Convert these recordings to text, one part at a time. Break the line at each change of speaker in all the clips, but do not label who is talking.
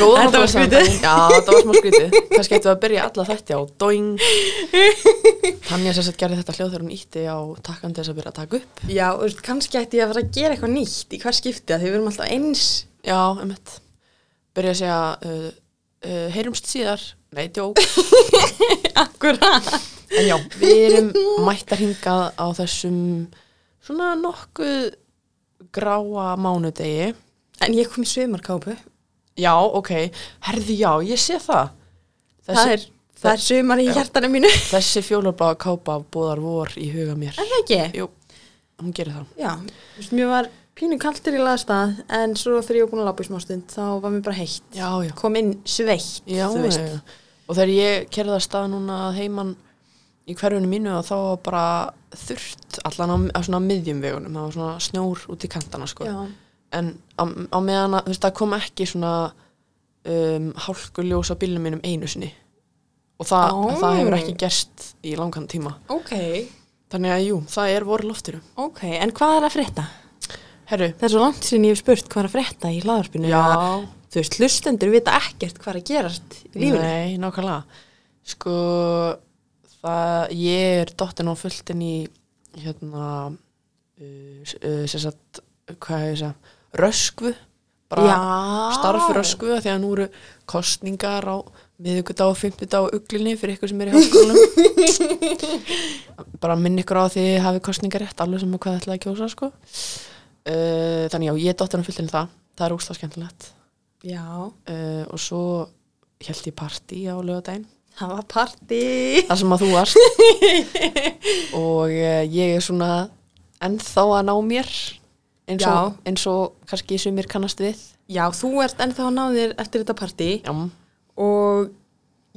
Góða
Þetta var
samtali. Já, þetta var smá skrítið Kannski ættum við að byrja alla þetta á doing Tanja sér sett gerði þetta hljóð þegar hún ítti á takkan til þess að byrja að taka upp
Já, þú veist, kannski ætti ég að fara að gera eitthvað nýtt í hver skipti að því við erum alltaf eins.
Já, einmitt Byrja að segja uh, uh, Heyrumst síðar Nei, djók
Akkurat.
En já, við erum mættar hingað á þessum svona nokkuð gráa mánudegi
En ég kom í sömarkápu.
Já, ok, herði já, ég sé það
Það er, það er sömar í hjartanum mínu.
Þessi fjólarbláða kápa búðar vor í huga mér
Er það ekki?
Jú, hún gerir það
Já, þú veist, mér var pínu kaltur í laðstað en svo þegar ég var búin að lápa í smá stund þá var mér bara heitt.
Já, já
Kom inn sveitt,
Já,
þú veist.
já. og þegar ég kerði að stað núna að heiman í hverjunum mínu að þá var bara þurft allan á, á svona miðjum vegunum, það var svona snjór út í kantana sko.
Já.
en á, á meðan að þú veist, það kom ekki svona um, hálkuljós á bílnum mínum einu sinni og það,
Ó.
það hefur ekki gerst í langan tíma
Ok,
þannig að jú, það er voru loftinu
ok, en hvað er að frétta?
Herru,
Það er svo langt sinni ég hef spurt hvað er að frétta í hlaðarpinu.
já,
Þú veist, hlustendur vita ekkert hvað er að gerast í lífinu.
Nei, nákvæmlega Sko það, Ég er dottin á fulltin í hérna uh, s- uh, sem sagt hvað hefur það, röskvu bara
Já.
starf röskvu af því að nú eru kostningar á miðvikudag og fimmtudag og uglinni fyrir ykkur sem er í háskólanum bara minn ykkur á að þið hafi kostningar rétt alveg sem hvað þið ætlaði að kjósa sko. uh, þannig já, ég er dottin á fulltin í það það er úsla skemmtilegt
Já,
uh, og svo held ég partí á lögadaginn
það var party.
þar sem að þú varst og uh, ég er svona ennþá að ná mér eins og,
Já.
eins og kannski sem mér kannast við
Já, þú ert ennþá að ná þér eftir þetta partí
já,
og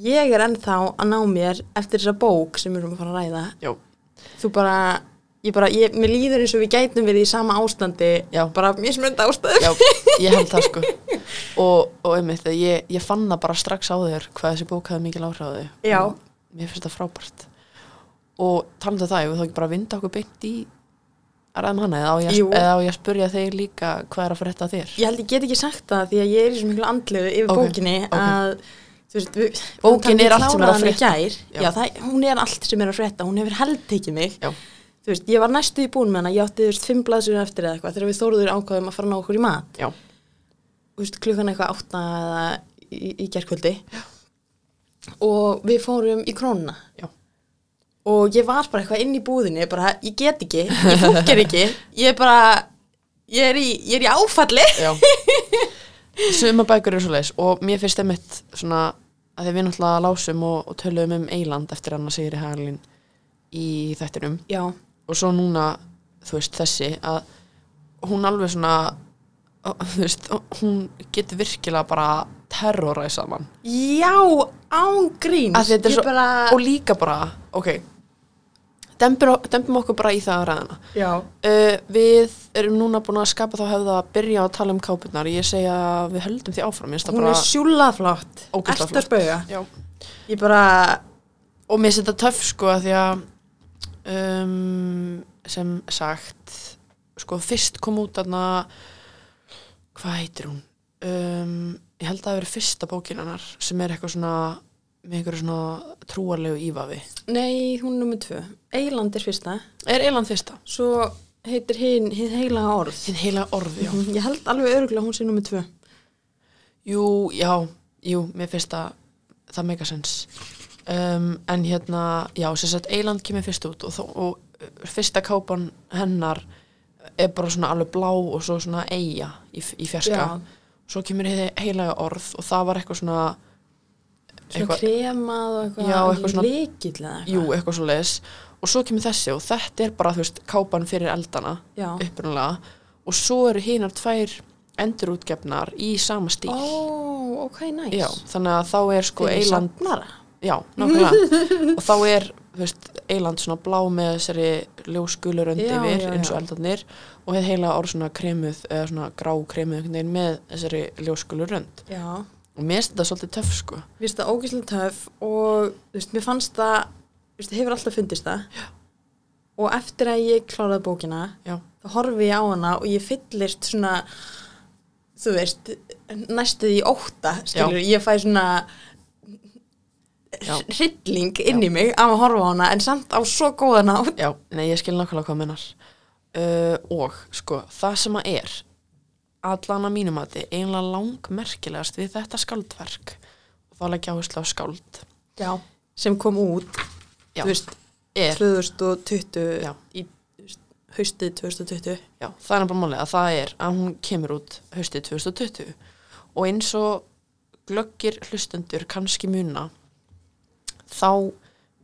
ég er ennþá að ná mér eftir þessa bók sem við erum að fara að ræða.
já,
Þú bara, ég bara, ég, mér líður eins og við gætum verið í sama ástandi,
Já.
bara mismönda ástæðum.
já ég held það sko og, og einmitt, ég, ég fann það bara strax á þér hvað þessi bók hafði mikil áhráði
Já.
mér finnst það frábært og talandi um það, ég við þá ekki bara vinda okkur beint í að ræðum hana eða á ég,
Jú.
að- eða á ég að spurja þeir líka hvað er að frétta af þér
Ég held ég get ekki sagt það því að ég er í svo miklu andluðu yfir
Ok,
bókinni
ok.
að þú veist, við,
Bókin
við
er allt sem er að
kláruðum hana í
frétta.
Gær,
Já.
já, það, hún er allt sem er að frétta, hún hefur heldtekið mig.
Já.
Þú veist, ég var næstu í búin með hana, ég átti þú veist fimm blaðsur eftir eða eitthvað þegar við þóruður ákvaðum að fara að ná okkur í mat.
já,
Þú veist, klukkan eitthvað átta eða í, í gerkvöldi. Og við fórum í krónuna
já
og ég var bara eitthvað inn í búðinni, bara ég get ekki, ég fúkir ekki, ég er bara, ég er í, ég er í áfalli.
Já Suma bækur eru svo leis og mér finnst einmitt svona að þegar við náttúrulega lásum og, og töluðum um Eiland eftir hann að segja Hagalín í þættinum
Já,
og svo núna, þú veist, þessi að hún alveg svona að, þú veist, hún getur virkilega bara terroræsað mann
Já, án gríns
Af því þetta er
Ég
svo,
bara...
og líka bara, ok dembir, dembum okkur bara í það að ræðina
Já,
Uh, við erum núna búin að skapa þá hefða að byrja að tala um kápunar ég segja að við höldum því áfram mér finnst það
hún
bara-
er sjúlaflátt
Ógeðslega
Ertu að spauga
Já.
Ég bara,
og mér finnst þetta töff sko að því að um, sem sagt sko fyrst kom út aðna hvað heitir hún um, ég held að það veri fyrsta bókin hennar sem er eitthvað svona með einhverju svona trúarlegu ívafi
nei, hún er nummer tvö Eiland er fyrsta
er Eiland fyrsta?
Svo heitir hinn, hinn heila orð
þinn heila orði, já
Ég held alveg örgulega hún sé nummer tvö
jú, já, jú, mér finnst það það meika sens um, en hérna, já, sem sagt Eiland kemur fyrst út og, þó, og uh, fyrsta kápan hennar er bara svona alveg blá og svo svona eiga í, f- í fjarska
Já.
svo kemur heiði heilaga orð og það var eitthvað svona
Svo kremað og eitthvað
Já, eitthvað svona-
Líkill eða eitthvað
jú, eitthvað svo leis og svo kemur þessi og þetta er bara, þú veist, kápan fyrir eldana
Já.
upprunalega og svo eru hinar tvær endurútgefnar í sama stíl
Ó, ok, næs
já, þannig að þá er sko
Fyrir
Eiland
safnara
Já, nákvæmlega. og þá er þú veist, Eiland svona blá með þessari ljósgulur
Já,
yfir
já,
eins og
já.
eldarnir og hefði heila orð svona kremuð eða svona grá kremuð einhvern veginn með þessari ljósgulur rönd.
Já,
Og mér finnst þetta svolítið töff sko.
Mér finnst það ógæslega töf og þú veist, mér fannst það, þú veist, hefur alltaf fundist það Já. og eftir að ég kláraði bókina
Já,
þá horfi ég á hana og ég fyllist svona þú veist, næstuð í ótta, skilur, ég fæ svona
Já.
hrylling inn í mig af að horfa á hana en samt á svo góðan á
Já, nei, ég skil nákvæmlega hvað minnar uh, og sko, það sem að er allan að mínum að þið eiginlega langmerkilegast við þetta skáldverk og þá leggja áherslu á skáld
Já. sem kom út
Já.
þú veist,
er,
2020
Já.
í þú veist, haustið 2020
já, það er bara málið að það er að hún kemur út haustið 2020 og eins og glöggir hlustundur kannski muna þá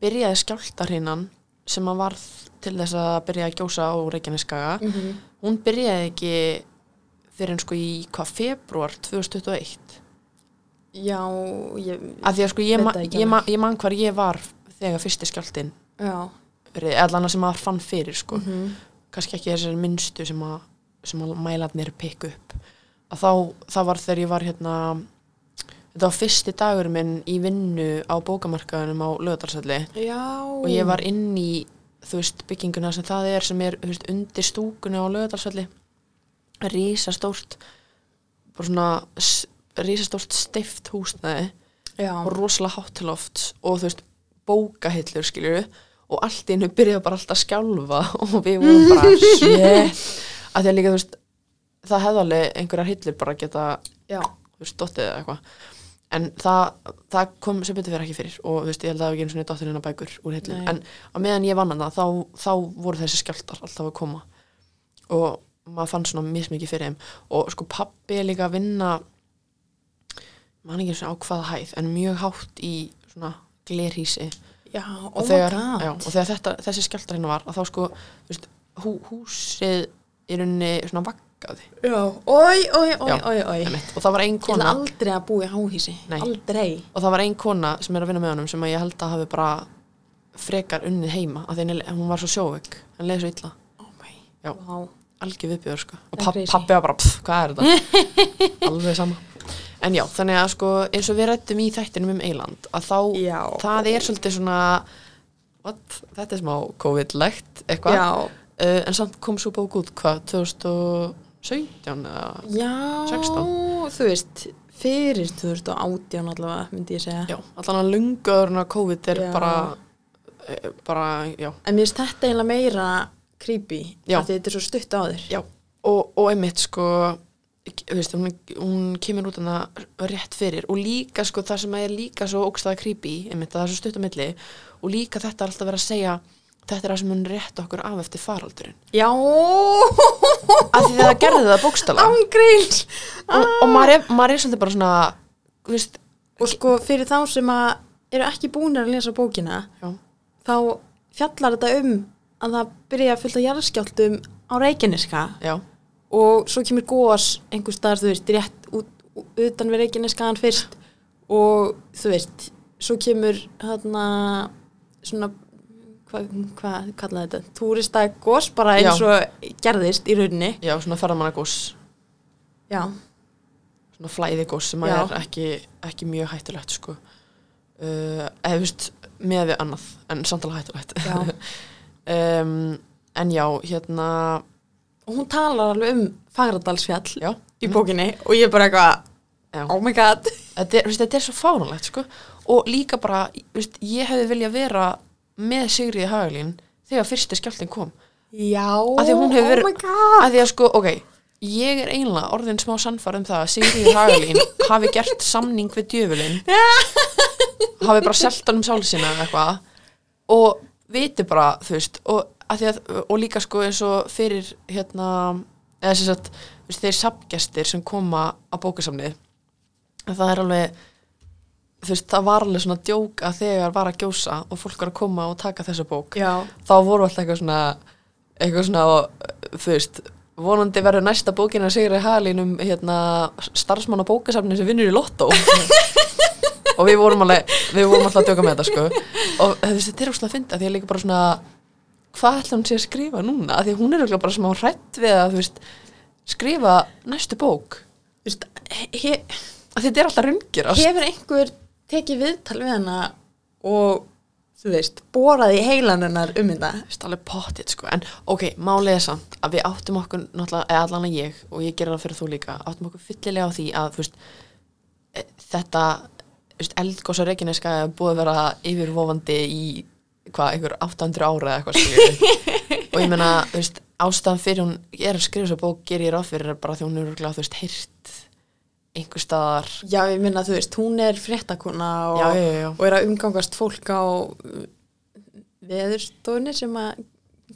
byrjaði skjáltarinnan sem að varð til þess að byrja að gjósa á Reykjaneskaga
mm -hmm.
hún byrjaði ekki fyrir en sko í hvað februar 2021
Já, ég,
af því að sko ég,
Veit
ma
það ekki
ég, ma ég man hvar ég var þegar fyrsti skjáltin
já,
eða annað sem maður fann fyrir sko
mm -hmm.
kannski ekki þessari minnstu sem að, sem að mælarnir pikk upp að þá, það var þegar ég var hérna þetta var fyrsti dagur minn í vinnu á bókamarkaðunum á lögadalsalli
já.
og ég var inn í þú veist bygginguna sem það er sem er þú veist, undir stúkunni á lögadalsvelli rísastórt bara svona s- rísastórt steift húsnæði
já.
og rosalega hátt til loft og þú veist bókahillur skilju og allt í hennu byrjaði bara alltaf að skjálfa og við vorum bara shit að því að líka þú veist það hefði alveg einhverjar hillur bara geta
já,
þú veist, dottið eða eitthvað en það, það kom sem betur fyrir ekki fyrir og þú veist, ég held að það hafi ekki einu svona dottirinn að bækur úr hillum,
Nei.
en á meðan ég vann það þá, þá voru þessi skjáltar alltaf að koma og maður fann svona mismikið fyrir þeim og sko pappi er líka að vinna mann ekki svona á hvaða hæð en mjög hátt í svona glerhísi
já,
og,
oh
þegar,
my god
já, og þegar þetta, þessi skjáltar hérna var að þá sko, þú veist, hú, húsið í rauninni svona vaggaði
Já, oi, oi, oi,
Já.
oi, oi Ég
einmitt. og það var ein
ætla
kona
aldrei að búa í háhísi
Nei.
Aldrei
og það var ein kona sem er að vinna með honum sem að ég held að hafi bara frekar unnið heima af því henni- hún var svo sjóveik hann leiði svo illa,
oh my,
Já.
Vá.
algjör viðbjör sko. og
Það er
papp,
crazy.
pappi var bara, pff, hvað er þetta alveg sama en já, þannig að sko, eins og við rættum í þættinum um Eiland að þá,
Já.
það er svolítið svona what, þetta er smá COVID-legt eitthvað,
Já,
uh, en samt kom svo bók út hvað, 2017 eða,
já
16.
Þú veist, fyrir 2018 allavega myndi ég segja
já, allan að lungaðurinn að COVID er
Já.
bara eh, bara, já
En mér finnst þetta eiginlega meira creepy
Já.
af því Þetta er svo stutt á þér
Já, og, og einmitt sko k- veist, hún, hún kemur út hana rétt fyrir og líka sko það sem er líka svo ógstaða creepy, einmitt að það er svo stutt á milli og líka þetta er alltaf verið að segja þetta er það sem mun rétt okkur af eftir faraldurinn
Já
af því það gerði það bókstala og,
Ángríns
og maður, er, maður er svolítið bara svona þú veist,
Ah. Og sko, fyrir þá sem að eru ekki búin að lesa bókina
já,
þá fjallar þetta um að það byrja fullt af jarðskjáltum á Reykjaneska
já,
og svo kemur gós einhver staðar, þú veist, rétt út, ú- utan við Reykjaneskaðan fyrst og þú veist, svo kemur hérna svona hvað hva, kallaði þetta, túrista gós bara eins
Já.
og gerðist í rauninni
já, svona ferðamannagós
já,
svona flæðigós sem
Já.
er ekki, ekki mjög hættulegt sko uh, eða þú veist með við annað en samtala hættulegt
já
um, en já, hérna
og hún talar alveg um Fagradalsfjall
já,
í bókinni og ég er bara eitthvað,
já.
oh my god
Þetta, er, veist, þetta er svo fáránlegt sko. og líka bara, veist, ég hefði viljað vera með Sigriði Hagalín þegar fyrsti skjáltin kom
já,
Af því að hún hefur verið-
oh my god
að því að sko, ok ég er einlega orðin smá sannfæð um það að Sigriði Hagalín hafi gert samning við djöfulinn hafi bara selt hann um sál sína eða eitthvað og viti bara, þú veist og, að því að, og líka sko eins og fyrir hérna, eða sem sagt þú veist, þeir sapgestir sem koma á bókasamnið að það er alveg þú veist, það var alveg svona djóka þegar var að gjósa og fólk var að koma og taka þessa bók
já,
þá voru alltaf eitthvað svona eitthvað svona, þú veist vonandi verður næsta bókin að Sigri Halín um hérna, starfsmann á bókasafni sem vinnur í lottó og við vorum alveg við vorum alltaf að djóka með þetta sko og þú veist, þetta er úrslega að finna því að líka bara svona hvað ætla hún sé að skrifa núna Af því að hún er örugglega bara smá hrætt við að þú veist, skrifa næstu bók
þú veist, he,
að þetta er alltaf raungirast
Hefur einhver tekið viðtal við hana og þú veist, boraði í heilan hennar um þetta
veist alveg pottit sko en ok, málið er samt að við áttum okkur náttúrulega, eða allan að ég og ég gera það fyrir þú líka, áttum okkur fyllilega á því að þú veist, e, þetta þú veist, eldgós á Reykjaneska er búið að vera yfirvofandi í hvað, einhver 800 ára eða eitthvað skilur og ég meina, þú veist, ástæðan fyrir hún ég er að skrifa þess að bók, ger ég ráð fyrir er bara því hún er örugglega, þú veist, heyrt einhver staðar,
já, ég minna, þú veist, hún er fréttakona og,
já, já, já, já.
og er að umgangast fólk á uh, veðurstofunni sem að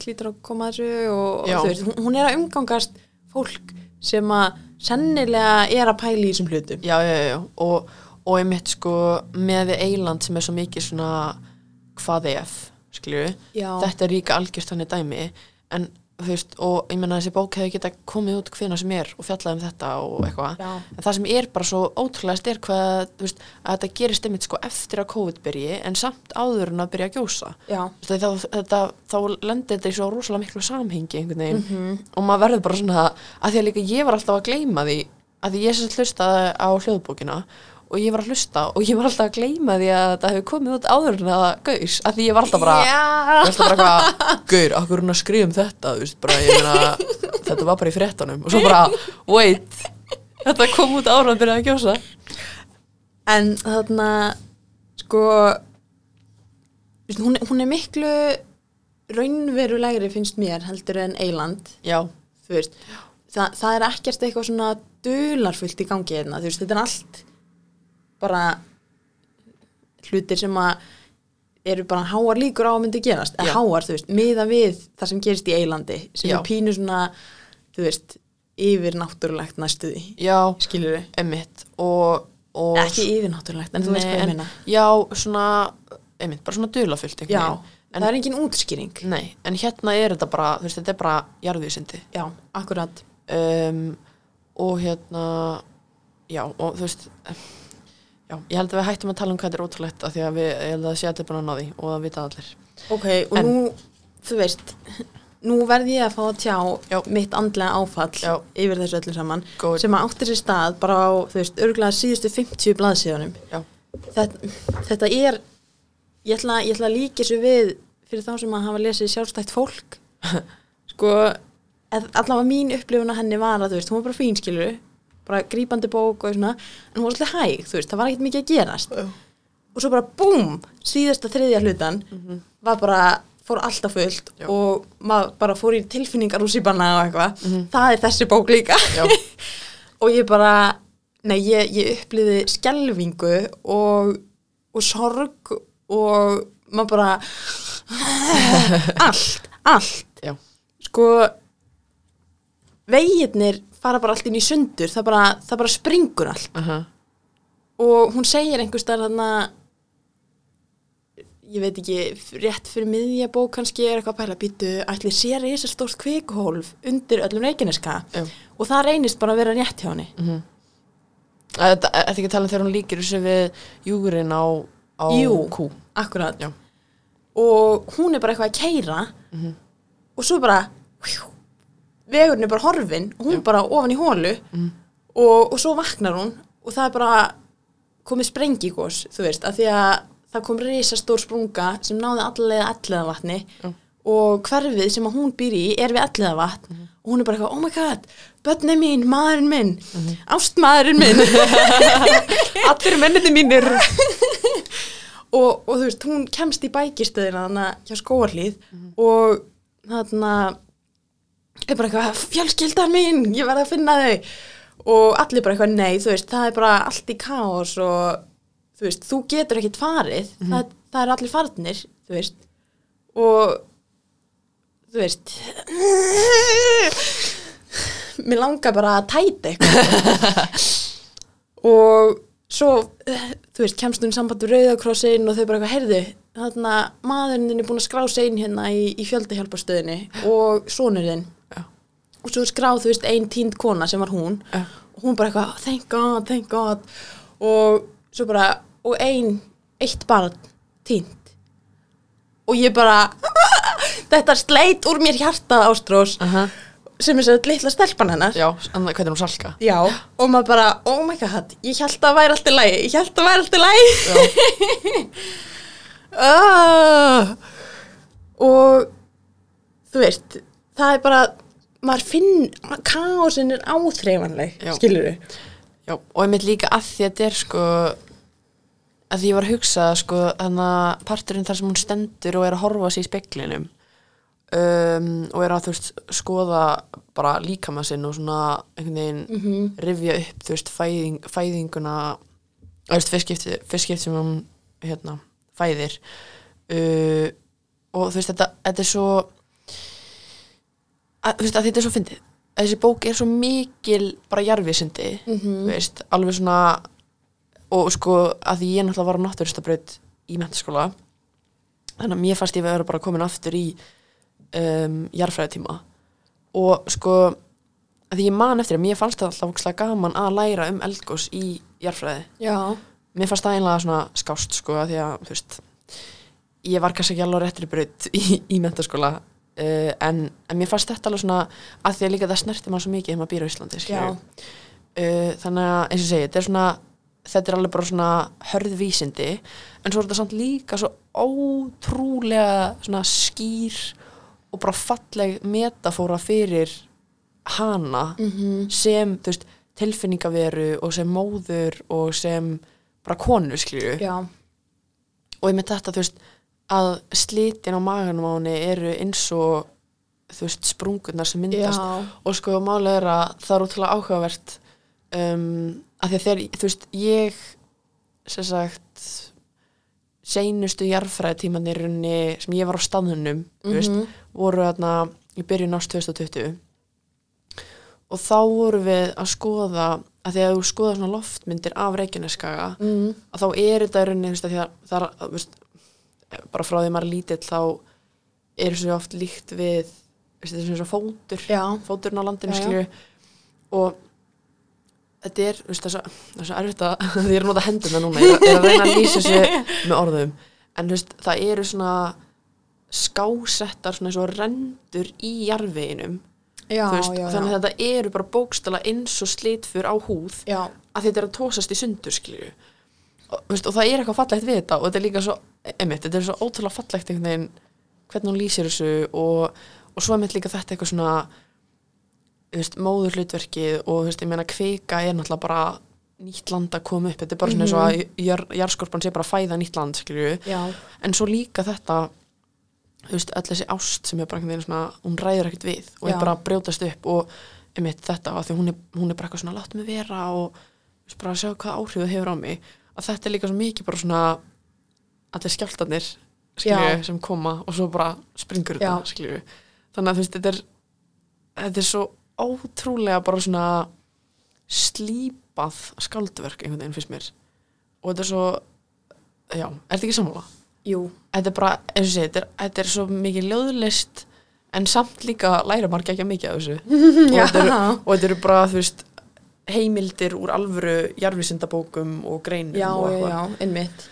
klítur að koma að þessu og,
Já.
og þú veist, hún, hún er að umgangast fólk sem að sennilega er að pæla í þessum hlutum
já, já, já, já. Og, og ég mitt sko með við Eiland sem er svo mikið svona hvað ef, skilju
já,
þetta er líka algjörst þannig dæmi en þú veist, og ég meina þessi bók hefði geta komið út hvena sem er og fjallaði um þetta og eitthvað,
já,
en það sem er bara svo ótrúlega styr hvað, þú veist, að þetta gerist einmitt sko eftir að COVID byrji en samt áður en að byrja að gjósa
já
Þú veist, þá, þetta, þá lendir þetta í svo rosalega miklu samhengi einhvern veginn
mhm,
og maður verður bara svona að því að líka ég var alltaf að gleyma því að því ég sem sagt hlustaði á hljóðbókina og ég var að hlusta og ég var alltaf að gleyma því að það hefur komið út áður en að gaus að því ég var alltaf bara,
já,
ég var alltaf bara eitthvað, gaur, okkur hún að skrifa um þetta þú veist, bara, ég meina, þetta var bara í fréttanum og svo bara, wait þetta kom út áður en að byrja að gjósa
en þarna sko þú veist, hún, hún er miklu raunverulegri finnst mér heldur en Eiland
já,
þú veist, Þa, það er ekkert eitthvað svona dularfullt í gangi hérna, þú veist, þetta er allt bara hlutir sem að eru bara háar líkur á að myndi gerast, eða
Já.
háar, þú veist, miða við það sem gerist í Eilandi, sem
Já.
er pínu svona, þú veist, yfir náttúrulegt næstu því,
já,
skilur við
emmitt og, og
ekki yfir náttúrulegt, en þú veist
Nei,
hvað ég
en-
meina
já, svona, emmitt, bara svona dulafyllt
já,
einhvern veginn en-
það er engin útskýring
Nei, en hérna er þetta bara, þú veist, þetta er bara jarðvísindi
já, akkurat
um, og hérna, já, og þú veist, já, ég held að við hættum að tala um hvað þetta er ótrúlegt af því að við, ég held að sé að þetta er búin að ná því og það vita allir.
ok, og
En-
nú, þú veist nú verð ég að fá að tjá
Já.
mitt andlega áfall
Já.
yfir þessu öllu saman
Góð,
sem að átti sér stað bara á, þú veist, örgulega síðustu 50 blaðsíðunum
Já.
þetta, þetta er ég ætla, ég ætla að líka þessu við fyrir þá sem að hafa lesið sjálfstætt fólk sko eð- allavega mín upplifun á henni var að þú veist, hún var bara fínskilur bara grípandi bók og svona en hún var svolítið hæg, þú veist, það var ekkert mikið að gerast
Já.
og svo bara búm síðasta þriðja hlutan var bara, fór alltaf fullt
Mhm. Já.
og maður bara fór í tilfinningar úr síbanna og eitthvað, það er þessi bók líka
Mhm. já,
og ég bara nei, ég, ég upplýði skelvingu og, og sorg og maður bara allt, allt
já,
sko veginir fara bara allt inn í sundur það bara, það bara springur allt
aha,
og hún segir einhvers staðar þarna ég veit ekki, rétt fyrir miðja bók kannski er eitthvað að pæla býtu ætli sér í þessi stórt kvikhólf undir öllum reikineska
já.
og það reynist bara að vera rétt hjá henni
Að Þetta er ekki að tala um þegar hún líkir þessu við júgurinn á, á
Jú.
kú.
Akkurat
Já.
Og hún er bara eitthvað að keira
Mhm.
Og svo bara hjú, Vegurinn er bara horfin og Hún er bara ofan í hólu
Mhm.
og, og svo vaknar hún Og það er bara komið sprengigos Þú veist, af því að það kom risastór sprunga Sem náði allega allega vatni
Já.
Og hverfið sem að hún býr í Er við allega vatn
Mhm.
Og hún er bara eitthvað, oh my god, börnin mín, maðurinn minn Ástmaðurinn minn
Mhm. Allir menniti mínir.
og, og þú veist, hún kemst í bækistöðina þannig hjá skóarlíð og þannig er bara eitthvað, fjölskyldan mín ég verð að finna þau og allir bara eitthvað, nei, þú veist, það er bara allt í kaos og þú veist, þú getur ekkit farið það, það er allir farnir, þú veist og þú veist mér langar bara að tæta eitthvað og svo, eh, þú veist, kemst hún í samband við Rauðakrossin og þau bara eitthvað, heyrðu þarna, maðurinn þinn er búin að skrá sein hérna í, í fjöldahjálparstöðinni og sonur þinn
Já.
og svo er skráð, þú veist, ein tínd kona sem var hún
Já.
og hún bara eitthvað, thank god, thank god og svo bara, og ein eitt barn tínd og ég bara þetta sleit úr mér hjartað Ástrós
Aha,
sem er sér litla stelpan hennar
já, en hvað er hún salka?
Já, og maður bara, oh my god, ég held að það væri allt í lagi, ég held að það væri allt í lagi. Ah! og þú veist það er bara maður finn, kaosin er áþreifanleg
Já.
skilur við
Já, og einmitt líka að því að þetta er sko að því ég var að hugsa sko þannig að parturinn þar sem hún stendur og er að horfa sér í speklinum um, og er að þú veist skoða bara líkama sinn og svona einhvern veginn rifja upp þú veist fæðing, fæðinguna þú veist fyrstskipti, fyrstskipti sem hún hérna fæðir uh, og þú veist þetta, þetta er svo að, þú veist að þetta er svo fyndið þessi bók er svo mikil bara jarfisindi
Mhm.
þú veist, alveg svona og sko að því ég náttúrulega var á náttúristabraut í mentaskóla þannig að mér fannst ég að vera bara komin aftur í um, jarfræðitíma og sko að því ég man eftir að mér fannst það alltaf ógeðslega gaman að læra um eldgós í jarfræði
já,
mér fannst það einlega svona skást sko að því að þú veist ég var kannski ekki alveg á réttri braut í, í mentaskóla uh, en, en mér fannst þetta alveg svona að því að líka það snerti maður svo mikið þegar maður býr á Íslandi skilurðu
já,
uh, þannig að eins og ég segi, þetta er svona þetta er alveg bara svona hörðvísindi en svo er þetta samt líka svo ótrúlega svona skýr og bara falleg metafóra fyrir hana
Mhm.
sem, þú veist, tilfinningaveru og sem móður og sem bara konu, skilju
já.
og ég með þetta, þú veist, að slitin á maganum á henni eru eins og þú veist, sprungurnar sem myndast
Já. Mhm.
og sko, málið er að það er útrúlega áhugavert um, að því að þegar, þú veist, ég sem sagt seinustu jarðfræðitímanir runni sem ég var á staðunum þú veist,
Mhm.
voru þarna í byrjun ást 2020 og þá vorum við að skoða að því að þú skoða svona loftmyndir af Reykjaneskaga
Mm.
að þá er þetta í rauninni þú veist, af því að það er, að, þú veist, bara frá því maður er lítill þá er þessu oft líkt við þú veist, þessu fótur
já,
fóturinn á landinu
Já, já.
skilju og þetta er þú veist, það er svo- það er svo erfitt að því ég er að nota hendurna núna ég er, er að reyna að lýsa þessu með orðum en þú veist, það eru svona skásettar svona eins og rendur í jarðveginum
já,
þú veist,
já,
þannig
já.
að þetta eru bara bókstala eins og slitfur á húð
já,
að þetta er að tósast í sundur skilju og, veist, og það er eitthvað fallegt við þetta og þetta er líka svo, emitt, þetta er svo ótrúlega fallegt einhvern veginn, hvernig hún lýsir þessu og, og svo emitt líka þetta eitthvað svona þú veist, móður hlutverkið og þú veist, ég meina kveika er náttúrulega bara nýtt land að koma upp, þetta er bara svona eins og að jar, jarðskorpan sé bara að fæða nýtt land skilju,
já,
en svo líka þetta þú veist, öll þessi ást sem er bara einhvern veginn svona, hún ræður ekkert við og
Já.
er bara að brjótast upp og einmitt þetta, af því hún er, hún er bara eitthvað svona látt mig vera og þú veist, bara að sjá hvað áhrif það hefur á mig að þetta er líka svo mikið bara svona allir skjáltanir skilju,
Já.
sem koma og svo bara springur
Já.
þetta skilju. þannig að þú veist, þetta er þetta er svo ótrúlega bara svona slípað skáldverk einhvern veginn fyrst mér og þetta er svo já, er þetta ekki sammála?
jú,
þetta er bara, eins og ég segi, þetta er, þetta er svo mikið ljóðlist en samt líka læra maður ekki mikið af þessu og,
Mm, Já.
þetta eru, og þetta eru bara, þú veist heimildir úr alvöru jarfisindabókum og greinum
já,
og
já, já, einmitt.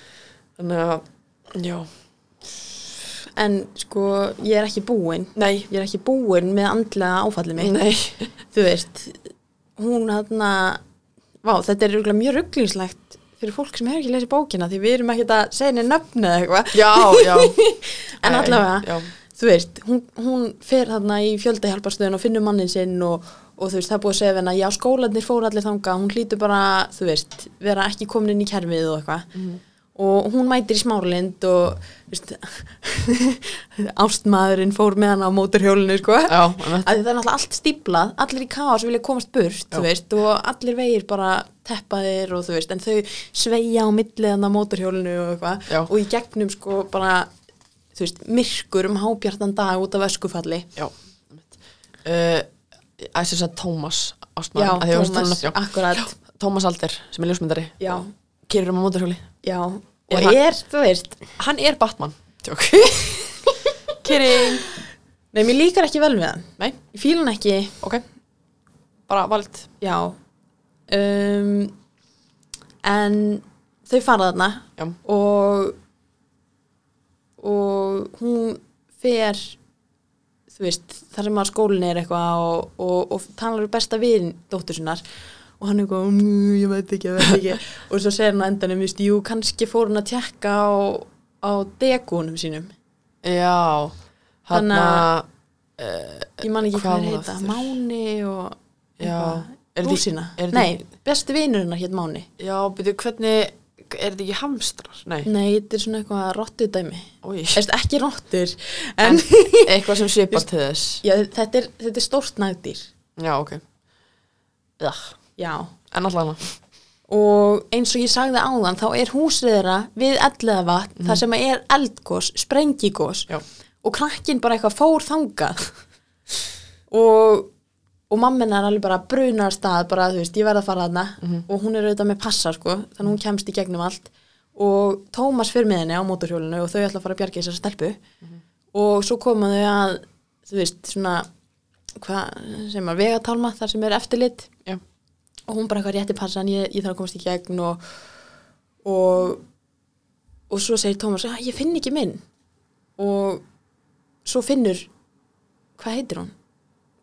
þannig að, já,
En sko, ég er ekki búin,
nei
ég er ekki búin með andlega áfallið mitt.
nei,
þú veist hún hérna vá, þetta er örugglega mjög rugglingslegt fyrir fólk sem hefur ekki lesið bókina því við erum ekkert að segja henni nöfni eða eitthvað
já, já
En
Æ,
allavega.
já,
þú veist, hún, hún fer þarna í fjöldahjálparstöðun og finnur mannin sinn og, og þú veist, það er búið að segja við henni að já, skólanir fóru allir þangað, hún hlýtur bara þú veist, vera ekki komin inn í kerfið og eitthvað og hún mætir í smárlind og þú veist, ástmaðurinn fór með hana á móturhjólinu sko
já, einmitt.
að því það er náttúrulega allt stíplað, allir í kaos vilja komast burt, þú
Já.
veist, og allir vegir bara teppaðir og þú veist, en þau sveigja á milliðan á mótorhjólinu og eitthvað,
Já.
og í gegnum sko bara, þú veist, myrkur um hábjartan dag út af öskufalli
já einmitt. uh, að þess að Tómas Ástmann,
Já,
að því að hún
Tómas,
stannar- já.
akkurat
Tómas Alder sem er ljósmyndari
Já.
og kýrir um á móturhjóli
Já, og
Er hann-
er, þú veist
hann er Batman tjók kýring
Nei, mér líkar ekki vel við hann
Nei,
Ég fíla hann ekki,
ok Bara vald
já um, En þau fara þarna
Já,
og og hún fer þú veist, þar sem að skólin er eitthvað og, og, og talar um besta vin dóttur sinnar og hann er eitthvað, "Mm, ég veit ekki, ég veit ekki og svo segir hann á endanum, þú veist, jú, kannski fór hann að tjekka og, á degunum sínum
já hann
Þannig að-
að
ég man ekki
Hvað
hvað
hún
þeir heita,
aftur?
Máni og
Já. Er þetta í-
Rúsina,
er þetta
nei, besti vinurinnar hétt Máni
já, byrju, hvernig er þetta ekki hamstrar? Nei,
Nei, þetta er svona eitthvað rottudæmi
Ói,
Erst ekki rottur en,
eitthvað sem svipar til þess
já, þetta, er, þetta er stórt nagdýr
Já, ok Já,
Já,
en allavega
og eins og ég sagði áðan þá er húsið þeirra við elliða vatn þar sem er eldgós, sprengigós
Já,
og krakkin bara eitthvað fór þangað og og mamminar alveg bara brunar stað bara, þú veist, ég verð að fara þarna og hún er auðvitað með passa, sko, þannig að hún kemst í gegnum allt og Tómas fyrir með henni á mótorhjólinu og þau ætla að fara að bjarga þessar stelpu og svo koma þau að þú veist, svona hvað sem að vegatálma, þar sem er eftirlit
já,
og hún bara eitthvað rétti passan, ég, ég þarf að komast í gegn og og, og svo segir Tómas, "Ah, ég finn ekki minn og svo finnur hvað heitir hún?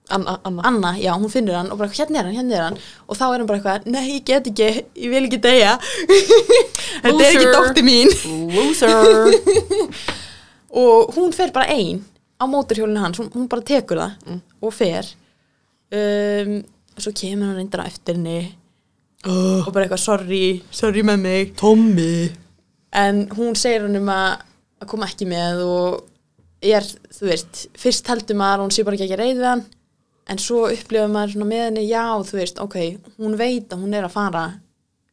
Anna, Anna.
Anna, já, hún finnur hann og bara hérna er hann, hérna er hann og þá er hann bara eitthvað, nei, ég get ekki, ég vil ekki deyja þetta er ekki
Loser.
dótti mín
Loser
og hún fer bara ein á móturhjólinu hans, hún, hún bara tekur það
Mm.
og fer um, og svo kemur hann reyndar á eftir henni og bara eitthvað sorry, sorry með mig
Uh, Tommy
en hún segir hann um að, að koma ekki með og er, þú veist, fyrst heldur maður að hún sé bara ekki ekki reyð við hann en svo upplifa maður svona með henni já, þú veist, ok, hún veit að hún er að fara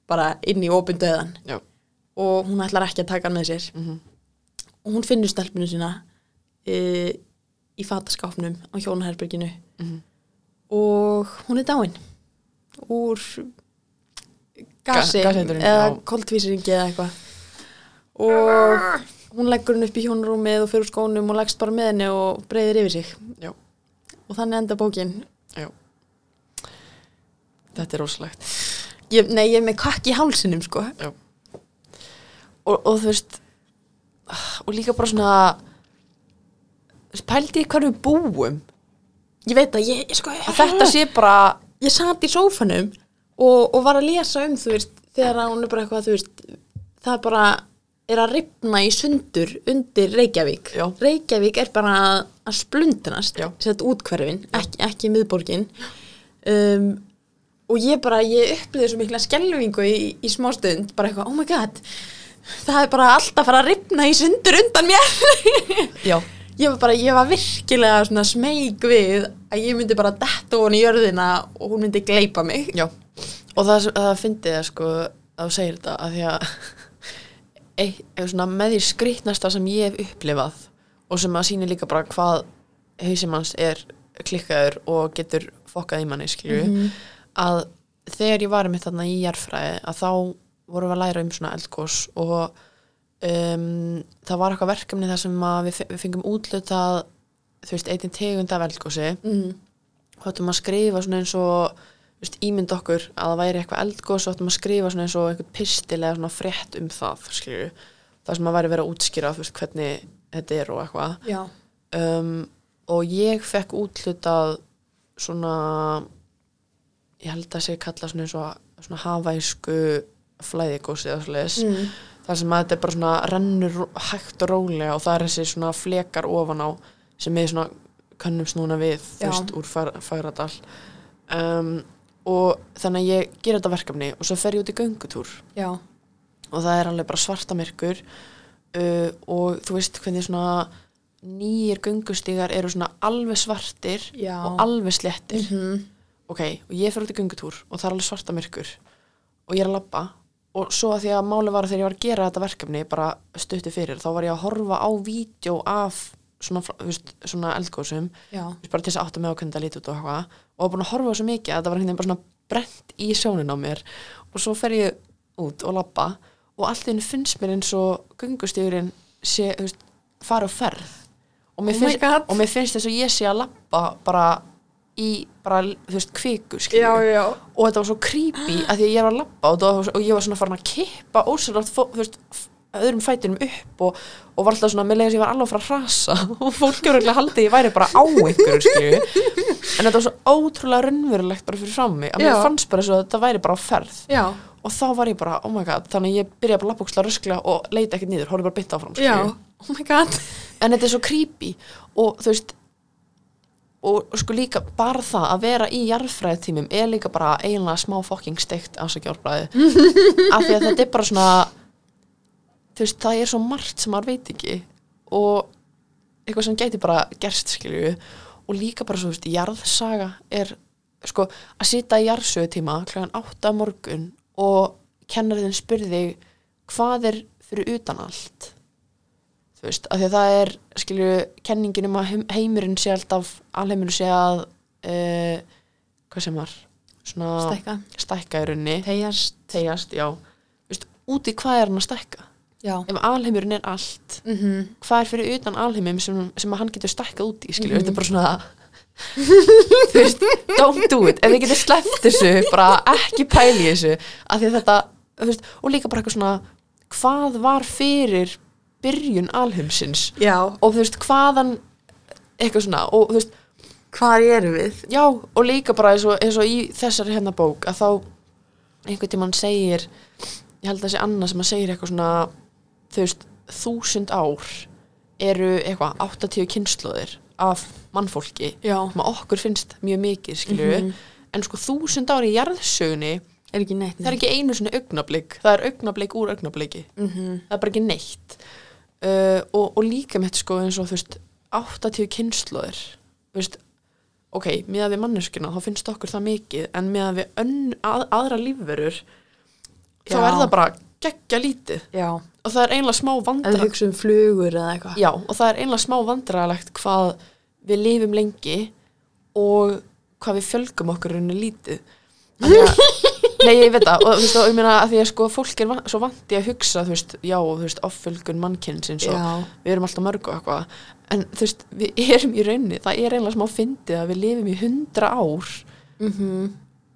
bara inn í opindauðan
Já,
og hún ætlar ekki að taka hann með sér
Mhm.
og hún finnur stelpunu sína e, í fataskápnum á hjónaherberginu
Mhm.
og hún er dáin úr gasi
Ga- gaseitrun, já.
eða koltvísiringi eða eitthvað og hún leggur hann upp í hjónarúmið og fyrir skónum og leggst bara með henni og breyðir yfir sig
já,
og þannig enda bókin
já Þetta er rosalegt
ég, nei, ég er með kakk í hálsinum sko
og, og þú veist ah, og líka bara svona þú veist, pældi í hvað við búum
ég veit að ég, ég sko
að þetta sé bara
ég satt í sófanum og, og var að lesa um þú veist þegar að hún er bara eitthvað þú veist það bara er að ripna í sundur undir Reykjavík
Já.
Reykjavík er bara að, að splundunast
Já.
sett útkverfin, ekki, ekki miðborgin um, og ég bara ég upplýði svo mikla skelvingu í, í smástund, bara eitthvað, oh my god það er bara allt að fara að ripna í sundur undan mér
já,
ég var bara, ég var virkilega svona smeyk við að ég myndi bara detta hún í jörðina og hún myndi gleipa mig
já og það, sem- það fyndi það sko að þú segir þetta að því að eitt, eða svona með því skrýtnasta sem ég hef upplifað og sem að sýni líka bara hvað hausimanns er klikkaður og getur fokkað í manni skilju
Mhm. Mm.
að þegar ég var mitt þarna í jarðfræði að þá vorum við að læra um svona eldgós og um, það var eitthvað verkefni þar sem að við, fe- við fengum útlutað þú veist, einnig tegund af eldgósi
Mhm.
og áttum að skrifa svona eins og þú veist, ímynd okkur að það væri eitthvað eldgós og áttum að skrifa svona eins og einhvern pistil eða svona frétt um það, skilju það sem að væri verið að útskýra, þú veist, hvernig þetta er og eitthvað
Já.
um, og ég fekk útlutað svona ég held að sé kalla svona, svona, svona havæsku flæðigósi eða svoleiðis
Mm.
þar sem að þetta er bara svona rennur ró- hægt og rólega og það er þessi svona flekar ofan á sem við svona könnumst núna við þú
Já.
veist úr far, fagradal um, og þannig að ég gera þetta verkefni og svo fer ég út í göngutúr
Já.
og það er alveg bara svarta myrkur uh, og þú veist hvernig svona nýjir göngustígar eru svona alveg svartir
Já.
og alveg slettir
Mhm.
ok, og ég fer út í göngutúr og það er alveg svarta myrkur og ég er að labba og svo að því að máli var að þegar ég var að gera þetta verkefni bara stuttu fyrir, þá var ég að horfa á vídeo af svona, fl- þú veist, svona eldgósum
Já.
Þú veist, bara til þess að átta með á hvernig það líti út og eitthvað og var búin að horfa á svo mikið að þetta var hérna bara svona brent í sjónin á mér og svo fer ég út og labba og allt í henni finnst mér eins og göngustíðurinn sé, þú veist, fara og ferð og
Oh my
mér, finnst,
God.
og mér finnst þess að ég sé að labba bara í, bara, þú veist, kviku skilju
já.
og þetta var svo creepy að því að ég var að labba og, það var, og ég var svona farin að kippa ósælótt öðrum fætinum upp og, og var alltaf svona, mér leiðis ég var alveg að fara að rasa og fólk er alltaf haldið að ég væri bara á ykkur skilju, en þetta var svo ótrúlega raunverulegt bara fyrir fram mig að mér
Já.
fannst bara svo að þetta væri bara á ferð
já,
og þá var ég bara, oh my god, þannig að ég byrjaði bara að lappbúksla röskla og leita ekkert niður, horfði bara bytta áfram
já,
skilju.
oh my god
en þetta er svo creepy og þú veist og sko líka bara það að vera í jarðfræðitímum er líka bara eiginlega smá fokking steikt afsakjárblæði af því að þetta er bara svona þú veist, það er svo margt sem maður veit ekki og eitthvað sem gæti bara gerst skilju og líka bara svo, þú veist, jarðsaga er sko, að sita í jarðsögutíma kl. 8 að morgun og kennarinn spurði hvað er fyrir utan allt þú veist, af því að það er skilju, kenningin um að heim- heimurinn sé alltaf, alheimurinn sé að uh, hvað sem var svona
stækka,
stækka í runni
tegjast
tegjast, já Þú veist, úti hvað er hann að stækka
já,
ef alheimurinn er allt
mm
hvað er fyrir utan alheimum sem, sem að hann getur stækkað út í skilju,
Mhm.
þetta er bara svona þú veist, don't do it ef þið getur sleppt þessu, bara ekki pæli þessu, af því að þetta þú veist, og líka bara eitthvað svona hvað var fyrir byrjun alheimsins
já,
og þú veist, hvaðan eitthvað svona, og þú veist
hvað erum við
já, og líka bara eins og, eins og í þessari hérna bók að þá einhvern tímann segir ég held að þessi annað sem að segir eitthvað svona þú veist, þúsund ár eru eitthvað 80 kynnslóðir af mannfólki
já,
sem að okkur finnst mjög mikið skilju
Mhm.
en sko þúsund ár í jarðsögunni
er ekki neitt
það er ekki einu svona augnablík það er augnablík úr augnablíki
mm -hmm.
það er bara ekki neitt uh, og, og líka með sko eins og þú veist 80 kynnslóðir þú veist, ok, meðan við manneskina þá finnst okkur það mikið en meðan við önn, að, aðra lífverur þá
Já.
er það bara geggja lítið
já,
og það er einlega smá
ef við
vandra
hugsa um flugur eða eitthvað
já, og það er einlega smá vandralegt hvað við lifum lengi og hvað við fjölgum okkur rauninu lítið Af því að, nei, ég veit það og, þú veist, og ég meina að því að sko fólk er van, svo vandi að hugsa, þú veist, já, þú veist offölgun mannkynsins og
já,
við erum alltaf mörg og eitthvað en þú veist, við erum í raunni það er einlega smá fyndið að við lifum í hundra ár
mm -hmm.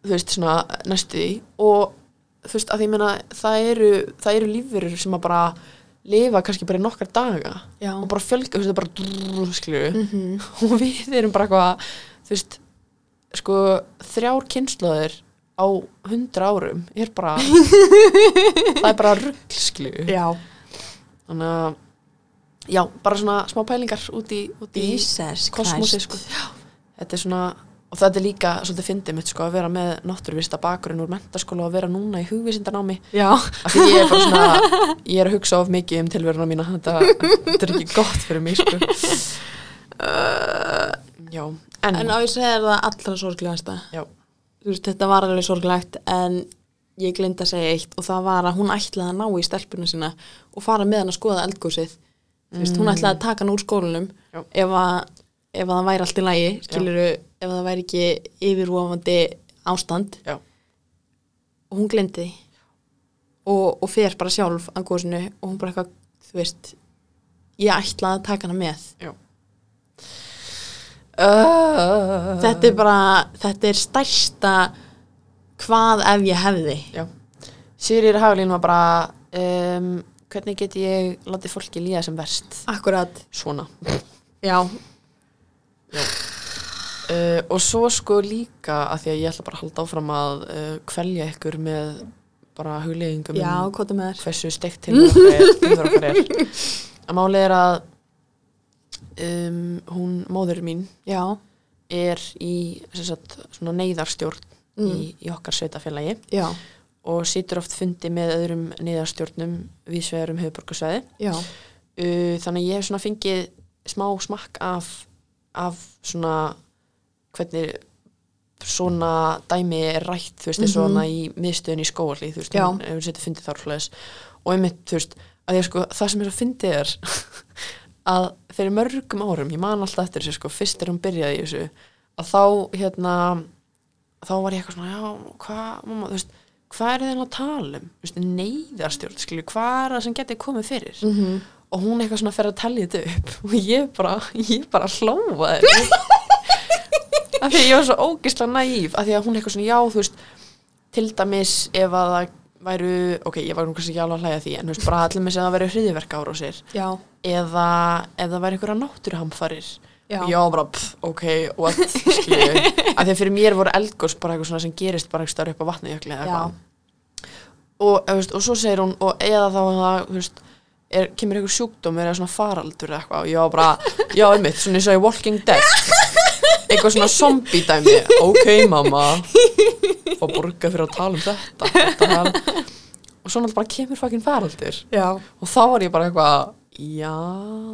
þú veist, svona næstu því og þú veist, að því ég meina það eru, það eru lífverur sem að bara lifa kannski bara í nokkar daga
já,
og bara fjölga, þú veist, það er bara drrrr, skilju,
mm
og við erum bara eitthvað, þú veist sko, þrjár kynnslóðir á hundra árum er bara það er bara rugl, skilju
já,
þannig að, já, bara svona smá pælingar út í, út í
Jesus
kosmosi sko. þetta er svona og þetta er líka svolítið fyndið mitt sko, að vera með náttúruvista bakgrunn úr mentaskóla og vera núna í hugvísindanámi
já,
af því ég er bara svona ég er að hugsa of mikið um tilveruna mína þetta, þetta er ekki gott fyrir mig sko. já, Uh, en,
en á ég segja þér það allra sorglegasta
já,
þú veist, þetta var alveg sorglegt en ég gleymd að segja eitt og það var að hún ætlaði að ná í stelpuna sína og fara með hann að skoða eldgósið þú veist, hún ætlaði að taka hann úr skólanum
Mm. Já.
ef að, ef að það væri allt í lagi skiluru, ef það væri ekki yfirvofandi ástand
já,
og hún gleymdi því og, og fer bara sjálf að gósinu og hún bara eitthvað, þú veist ég ætlaði að taka hana með
já Mm. uh,
þetta er bara, þetta er stærsta hvað ef ég hefði
Já, Sigurður Haglín var bara um, hvernig get ég látið fólki líða sem verst
akkurat,
svona
já,
Uh, og svo sko líka að því að ég ætla bara að halda áfram að uh, kvelja ykkur með bara hugleggingum
Já,
um
hvað er með þér?
hversu steikt til okkar er, til okkar er. að máli er að um, hún, móður mín
Já,
er í sem sagt, svona neyðarstjórn
Mm.
í, í okkar sveitafélagi
já,
og situr oft fundi með öðrum neyðarstjórnum um viðsvegarum höfuborgarsvæði
já,
uh, þannig að ég hef svona fengið smá smakk af, af svona hvernig svona dæmi er rætt þú veist, eins og
Mhm.
hana í miðstöðin í skóarlíð þú veist,
Já.
hún hefur setið fyndið þar hlæðis og einmitt, þú veist, að ég sko það sem er að fyndið er að fyrir mörgum árum, ég man alltaf eftir þessu sko, fyrst er hún byrjaði í þessu að þá, hérna þá var ég eitthvað svona, já, hvað mamma, þú veist, hvað er þeim að tala um Þú veist, neyðarstjórn, skilju, hvað er það sem getið komið fyrir
mm -hmm.
og hún eitthvað svona fer að tellja þetta upp og ég bara, ég bara hlóa þér af því að ég var svo ógislega næf af því að hún eitthvað svona, já, þú veist til dæmis ef að það væru, ok, ég var nú kannski ekki alveg að hlæja að því en þú veist, bara allir með sem það væru hriðiverka árásir
já,
eða ef það væri einhverja náttúruhamfarir
já,
og ég var bara, pff, ok, what skilju, af því að fyrir mér voru eldgós bara eitthvað svona sem gerist bara eitthvað upp á vatnajökli
Já.
eða eitthvað og, þú veist, og svo segir hún, og eða þá að það, þú veist, er, kemur einhver sjúkdómur eða svona faraldur eða eitthvað og ég var bara, já, einmitt, svona eins og í Walking Dead eitthvað svona zombie dæmi ok, mamma og borga fyrir að tala um þetta, þetta og svona bara kemur fucking faraldur
já,
og þá var ég bara eitthvað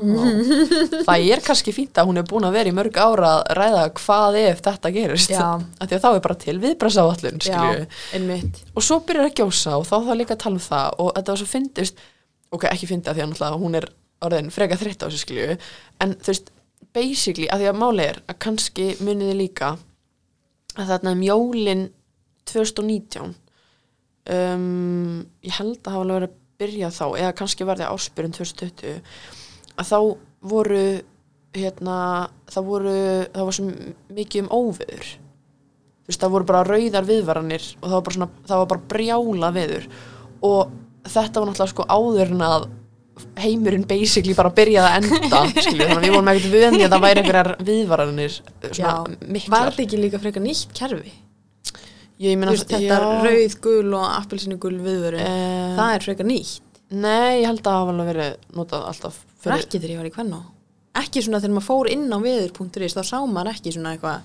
já það er kannski fínt að hún er búin að vera í mörg ára að ræða hvað ef þetta gerist
Já.
af því að þá er bara til viðbrasa á allun
já, einmitt,
og svo byrjar að gjósa og þá þarf líka að tala um það og þetta var svo fyndist ok, ekki fyndið af því að náttúrulega hún er orðin freka þreytt á þessu skilju en þú veist, basically, af því að máli er að kannski muniði líka að þarna um jólin 2019 um, ég held að hafa alveg verið að byrja þá eða kannski var það áspyrun 2020 að þá voru hérna, það voru það var svo mikið um óveður þú veist, það voru bara rauðar viðvaranir og það var bara, svona, það var bara brjála viður og þetta var náttúrulega sko áður en að heimurinn basically bara byrjaði að enda skilju, þannig að við vorum ekkert vöðni að það væri einhverjar viðvaranir eh, svona
var
miklar
þetta ekki líka frekar nýtt kerfi?
ég
Þú
meina
veist, þetta
já.
rauð, gul og appelsinu gul viðvörun,
Eh,
það er frekar nýtt
Nei, ég held að það hafa alveg verið notað alltaf
fyrir
fyrir
ekki þegar ég var í kvenna ekki svona þegar maður fór inn á viður.is þá sá maður ekki svona eitthvað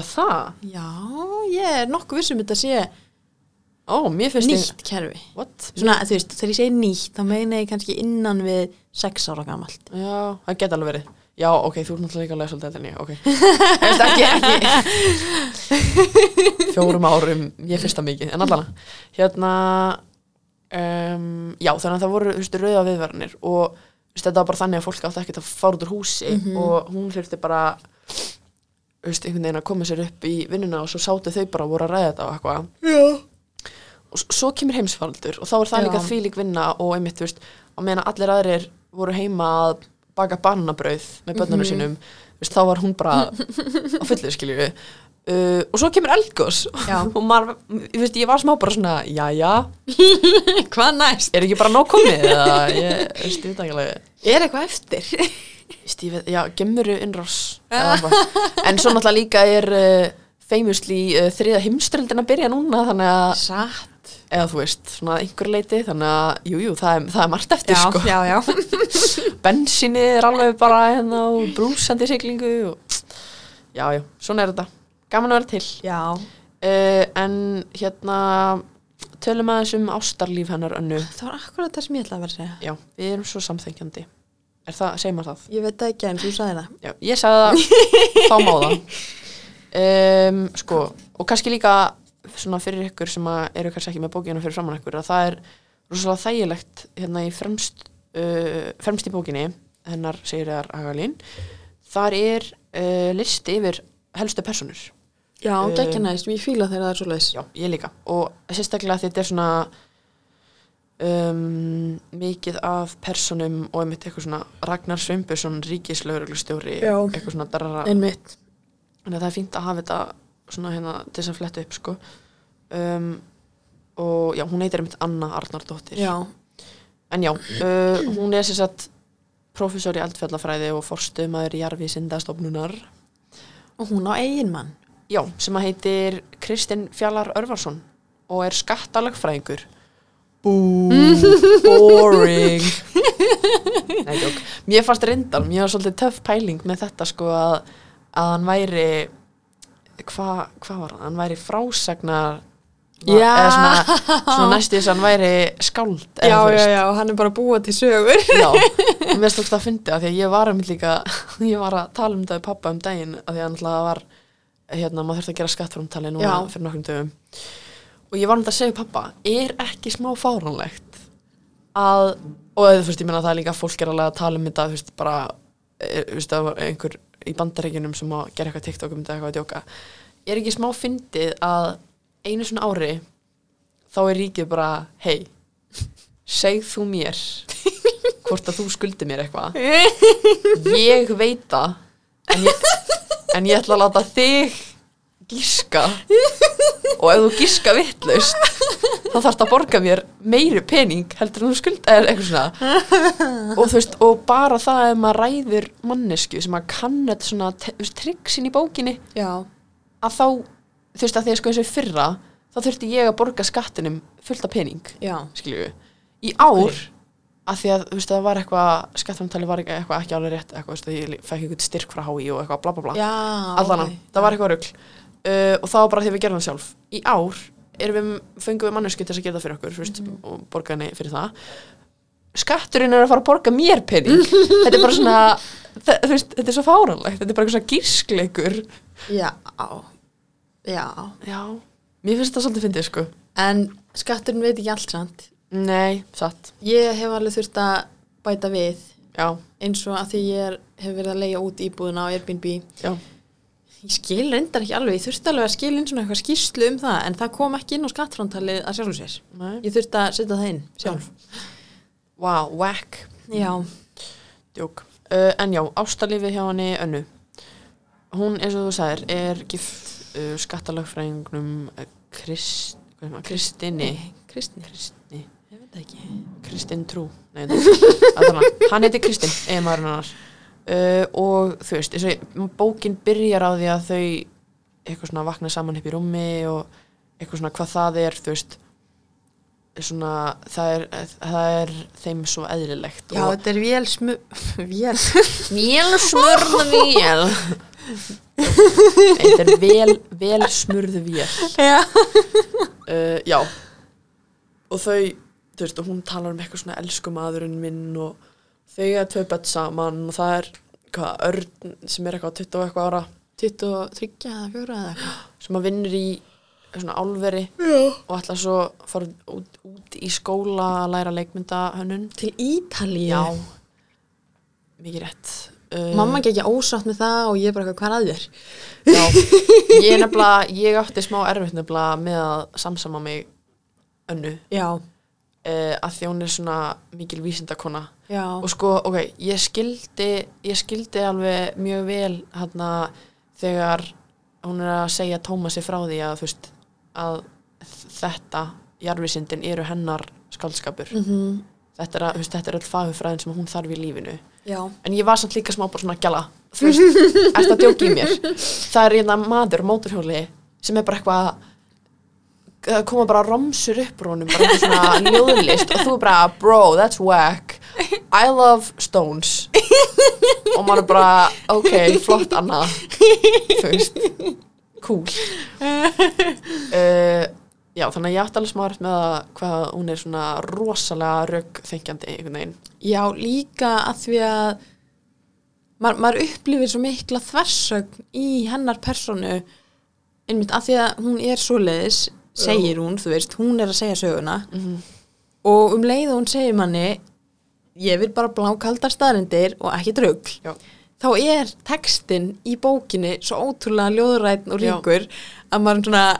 að það?
já, ég er nokkuð vissum þetta sé
Ó, mér finnst
nýtt kerfi
ég What?
svona, þú veist, þegar ég segi nýtt þá meina ég kannski innan við sex ára gamalt
Já, það geta alveg verið Já, ok, þú ert náttúrulega líka að lesa alltaf en ég, ok Hefst ekki, ekki Fjórum árum, ég finnst það mikið En allan, hérna um, Já, þannig að það voru þú veist, rauða viðverðinir og þú veist, þetta var bara þannig að fólk átti ekkert að fara út úr húsi
Mhm.
og hún þurfti bara þú veist, einhvern veginn að koma sér upp í vinnuna og svo sátu þau bara og voru að ræða þetta og eitthvað
já,
og s- svo kemur heimsfaraldur og þá er það
Já.
líka þvílík vinna og einmitt, þú veist, á meðan allir aðrir voru heima að baka bananabrauð með börnunum sínum, þú veist, þá var hún bara á fullu, skilju við uh, og svo kemur eldgós
Já.
og maður, ég veist, ég var smá bara svona jæja,
hvað næst?
er ekki bara nóg komið eða, ég, þú veist, ég veit ekki alveg
er eitthvað eftir?
Stífið, já, gemuru innrás eða eitthvað. en svo náttúrulega líka er uh, famously uh, þriða heimstöldin að byrja núna þannig að
satt
eða þú veist, svona að einhver leiti þannig að, jú, jú, það er, það er margt eftir sko.
já, já
bensinni er alveg bara hérna og brúsandi siglingu og, já, já, svona er þetta gaman að vera til
já,
uh, en hérna tölum aðeins um ástarlíf hennar önnu
það var akkurat það sem ég ætlaði að vera að segja
já, við erum svo samþengjandi er það, segir maður það?
ég veit það ekki en þú sagði það
Já, ég sagði það, þá má það um, sko, og kannski líka svona fyrir ykkur sem að eru kannski ekki með bókina fyrir framann ykkur að það er rosalega þægilegt hérna í fremst, uh, fremst í bókinni hennar segir þar Agalín þar er uh, listi yfir helstu personur
já,
Um,
ekki næst, ég fíla þegar það er svo leis
já, ég líka og sérstaklega því þetta er svona um, mikið af personum og einmitt eitthvað svona Ragnar Sveinbjörnsson ríkislauruglustjóri
Já.
eitthvað svona darara
einmitt
þannig að það er fínt að hafa þetta svona hérna til þess að fletta upp sko um, og já, hún heitir einmitt Anna Arnardóttir
já,
en já, uh, hún er sér satt professor í eldfjallafræði og forstumæður í jarfi sindastofnunar
og hún á eigin mann
já, sem að heitir Kristinn Fjallar Örvarsson og er skattalagfræðingur Bú, boring Nei, jók Mér fannst reyndar, mér var svolítið töff pæling með þetta sko að, að hann væri hvað hva var hann? Hann væri frásagnar
Já.
eða svona, svona næstu þess að hann væri skáld eða þú veist.
já, hann er bara að búa til sögur
Já, og mér stókst að fyndi að því að ég var um líka, ég var að tala um þetta við pappa um daginn að því að náttúrulega var hérna, maður þurfti að gera skattframtali núna
Já.
fyrir nokkrum dögum og ég var um þetta að segja við pappa, er ekki smá fáránlegt að og þú veist, ég meina það er líka að fólk er alveg að tala um þetta, þú veist, bara eh, þú veist, það var einhver í bandaríkjunum sem að gera eitthvað TikTok um þetta eitthvað að djóka er ekki smá fyndið að einu svona ári þá er ríkið bara, hei seg þú mér hvort að þú skuldi mér eitthvað ég veit það en ég, en ég ætla að láta þig gíska og ef þú gíska vittlaust þá þarf það að borga mér meiri pening heldur en þú skulda eða eitthvað svona og þú veist, og bara það ef maður ræðir mannesku sem maður kann þetta svona te- þú veist, tricksin í bókinni
Já,
að þá, þú veist, að því að sko eins og í fyrra þá þurfti ég að borga skattinum fullt af pening,
já,
skilju í ár,
Hverju?
að því að, þú veist, það var eitthvað skattamtali var eitthvað ekki alveg rétt eitthvað, þú veist, að ég fekk eitthvað styrk frá HÍ og eitthvað bla bla bla
já
allana, það var eitthvað rugl uh, og það var bara því að við gerðum það sjálf í ár erum við, fengum við mannesku til þess að gera það fyrir okkur fyrst, mm -hmm. og borga henni fyrir það skatturinn er að fara að borga mér pening þetta er bara svona það, þú veist, þetta er svo fáranlegt, þetta er bara eitthvað svona gískleikur
Já, já
já, mér finnst þetta svolítið fyndið sko
En skatturinn veit ekki allt samt
nei, satt,
Ég hef alveg þurft að bæta við
já,
eins og að því ég er, hef verið að leiga út íbúðuna á Airbnb
já
Ég skil reyndar ekki alveg, ég þurfti alveg að skil inn svona eitthvað skýrslu um það en það kom ekki inn á skattframtalið að sjálfum sér
nei.
Ég þurfti að setja það inn sjálf
wow, whack
Já,
Jók. Uh, en já, ástalífi hjá henni önnu. Hún, eins og þú sagðir, er gift uh, skattalagfræðingnum uh, Krist, hvað er maður, Kristinni.
Kristni,
Kristni.
ég veit það ekki
Kristinn Trú. Nei, það er hann heiti Kristinn, eða maður hennar. Uh, og þú veist, eins og ég- bókin byrjar á því að þau eitthvað svona vakna saman upp í rúmi og eitthvað svona hvað það er, þú veist, svona, það er, það er þeim svo eðlilegt
Já,
og
þetta er vél smu... vél
Vél smurðu vél Þetta er vel, vel smurðu vél
Já,
uh, Já Og þau, þú veist, og hún talar um eitthvað svona elsku maðurinn minn og þau er tvö bett saman og það er hvað, Örn sem er eitthvað 20 og eitthvað ára
23 eða 4 eða eitthvað
sem að vinnur í svona álveri
Já
og ætla svo að fara út, út í skóla að læra leikmyndahönnun
Til Ítalíu
Já, mikið rétt uh,
Mamma gekk ég ósátt með það og ég bara eitthvað hvað er að þér
Já, ég er nefnilega, ég átti smá erfitt nefnilega með að samsama mig önnu
Já,
uh, að því hún er svona mikil vísindakona
já,
og sko, ok, ég skildi ég skildi alveg mjög vel hérna þegar hún er að segja Tómasi frá því að þú veist, að þetta jarfisindin eru hennar skaldskapur,
mm
þetta er að, þú veist, þetta er öll fagufræðin sem hún þarf í lífinu
já,
en ég var samt líka smá bara svona gjala þú veist, ert að djóki í mér það er hérna maður á mótorhjóli sem er bara eitthvað það koma bara romsur upp úr honum bara eitthvað svona ljóðlist og þú er bara bro, that's whack I love stones og maður er bara, ok, flott annað þú veist cool uh, já, þannig að ég átti alveg smart með að hvað hún er svona rosalega röggþengjandi einhvern veginn
já, líka að því að maður, maður upplifir svo mikla þversögn í hennar personu einmitt að því að hún er svoleiðis segir hún, þú veist, hún er að segja söguna
Mhm.
og um leið og hún segir manni ég vil bara blákaldar staðrendir og ekki draugl
já,
þá er textin í bókinni svo ótrúlega ljóðrætn og
Já.
ríkur að maður svona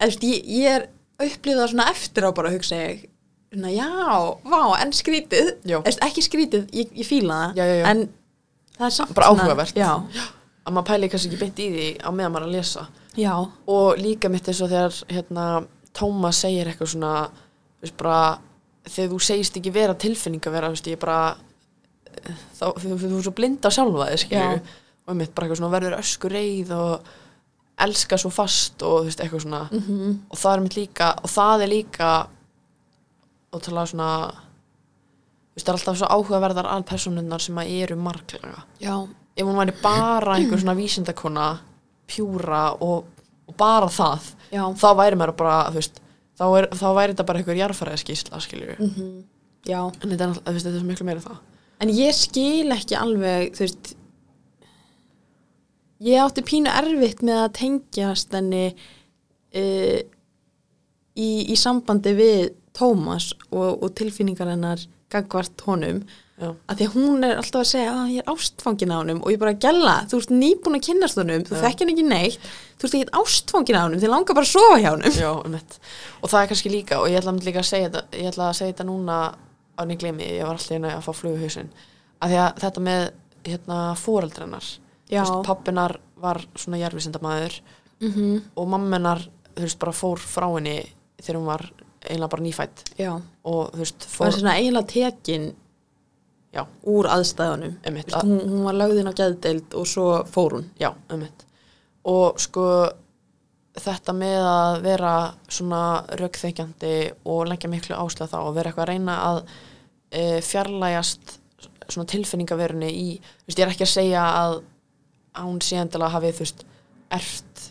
eða, þú veist, ég, ég er upplýðað svona eftir á bara að hugsa ég svona, já, vá, en skrítið
Já.
Eða, þú veist, ekki skrítið, ég, ég fíla það
Já, já, já.
en það er samt
Bara
svona-
áhugavert.
já,
að maður pæli kannski ekki beint í því á meðan maður er að lesa
já,
og líka mitt eins og þegar hérna, Tómas segir eitthvað svona þú veist, bara, þegar þú segist ekki vera tilfinninga vera veist, ég bara þá, þú, þú, þú er svo blind á sjálfa þér skilurðu. og mitt bara eitthvað svona verður öskur reið og elska svo fast og þú veist, eitthvað svona -hmm.
Mhm.
og það er mitt líka og það er líka og tala svona þú veist, það er alltaf svo áhugaverðar alpersonunnar sem að eru marglega
já,
ef hún væri bara einhver svona vísindakona pjúra og, og bara það
já,
þá væri maður bara, þú veist þá, er, þá væri þetta bara einhver jarðfæraðskísla skilur
Mhm.
við,
já
en þetta er, náttúrulega- þú veist, þetta er svo miklu meira en það
en ég skil ekki alveg þú veist ég átti pínu erfitt með að tengjast henni uh, í, í sambandi við Tómas og, og tilfinningar hennar gagvart honum
já,
að því að hún er alltaf að segja að ég er ástfangin á honum og ég bara gæla, þú ert nýbúin að kynnast honum þú
Já.
þekki hann ekki neitt, þú ert ekki ástfangin á honum þið langar bara að sofa hjá honum
já, um og það er kannski líka, og ég ætla að líka að segja þetta ég ætla að segja þetta núna án ég gleymi, ég var alltaf að fá flugu hausin af því að þetta með hérna, foreldrennar
já,
pappinar var svona jarðvísindamaður
mhm,
og mammenar þú veist, bara fór frá henni þegar hún var eiginlega bara nýfætt
já,
og þú veist,
var
fór
svona eiginlega tekin
Já.
úr aðstæðunum
Einmitt,
Vist, hún, hún var lagðin á gæðdeild og svo fór hún
já, um og sko þetta með að vera svona rökþengjandi og lengja miklu áslega þá og vera eitthvað að reyna að e, fjarlægjast svona tilfinningaverunni í, þú veist, ég er ekki að segja að að hún sé endilega hafi þú veist, erft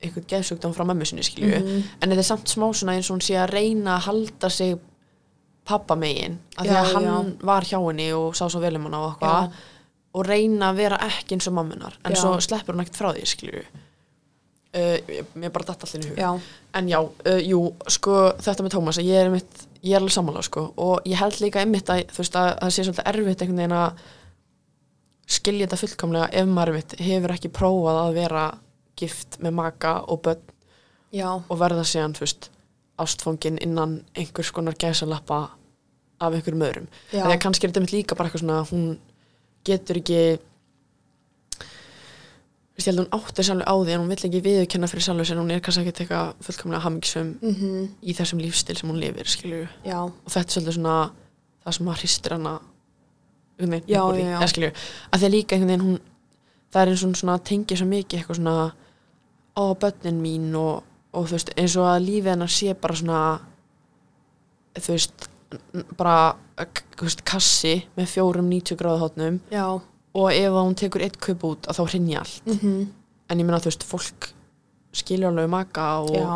einhvern geðsugdóm frá mömmu sinni skilju
Mhm.
en þetta er samt smá svona eins og hún sé að reyna að halda sig pappa megin af því
Já,
að hann var hjá henni og sá svo vel um hana og eitthvað og reyna að vera ekki eins og mammunar en
Já.
svo sleppur hún ekkert frá því skilju uh, mér bara datt allir í hug
já,
en já, uh, jú, sko þetta með Tómas, ég er einmitt, ég er alveg sammála sko, og ég held líka einmitt að þú veist að að það sé svolítið erfitt einhvern veginn að skilja þetta fullkomlega ef maður einmitt hefur ekki prófað að vera gift með maka og börn
já,
og verða síðan fyrst ástfóngin innan einhvers konar gæsalappa af einhverjum öðrum
já,
þegar kannski er þetta mitt líka bara eitthvað svona að hún getur ekki Vist, ég held að hún átti sérlega á því en hún vill ekki viðurkenna fyrir sérlega sem hún er kannski ekki teka fullkomlega hamingsum
Mhm,
í þessum lífstil sem hún lifir skilju
já,
og þetta er svolítið svona það sem maður hristir hana einhvern veginn
Já,
upp úr því,
já, já.
eða skilju, að því að líka einhvern veginn hún, það er eins og hún svona tengir svo mikið eitthvað svona ó, börnin mín og, og þú veist eins og að lífið hennar sé bara svona þú veist n- bara, eh, k- þú veist, kassi með fjórum 90 gráðu hótnum
já
og ef að hún tekur eitt kaup út að þá hrinja allt
mhm,
en ég meina þú veist, fólk skilja alveg maka og
já,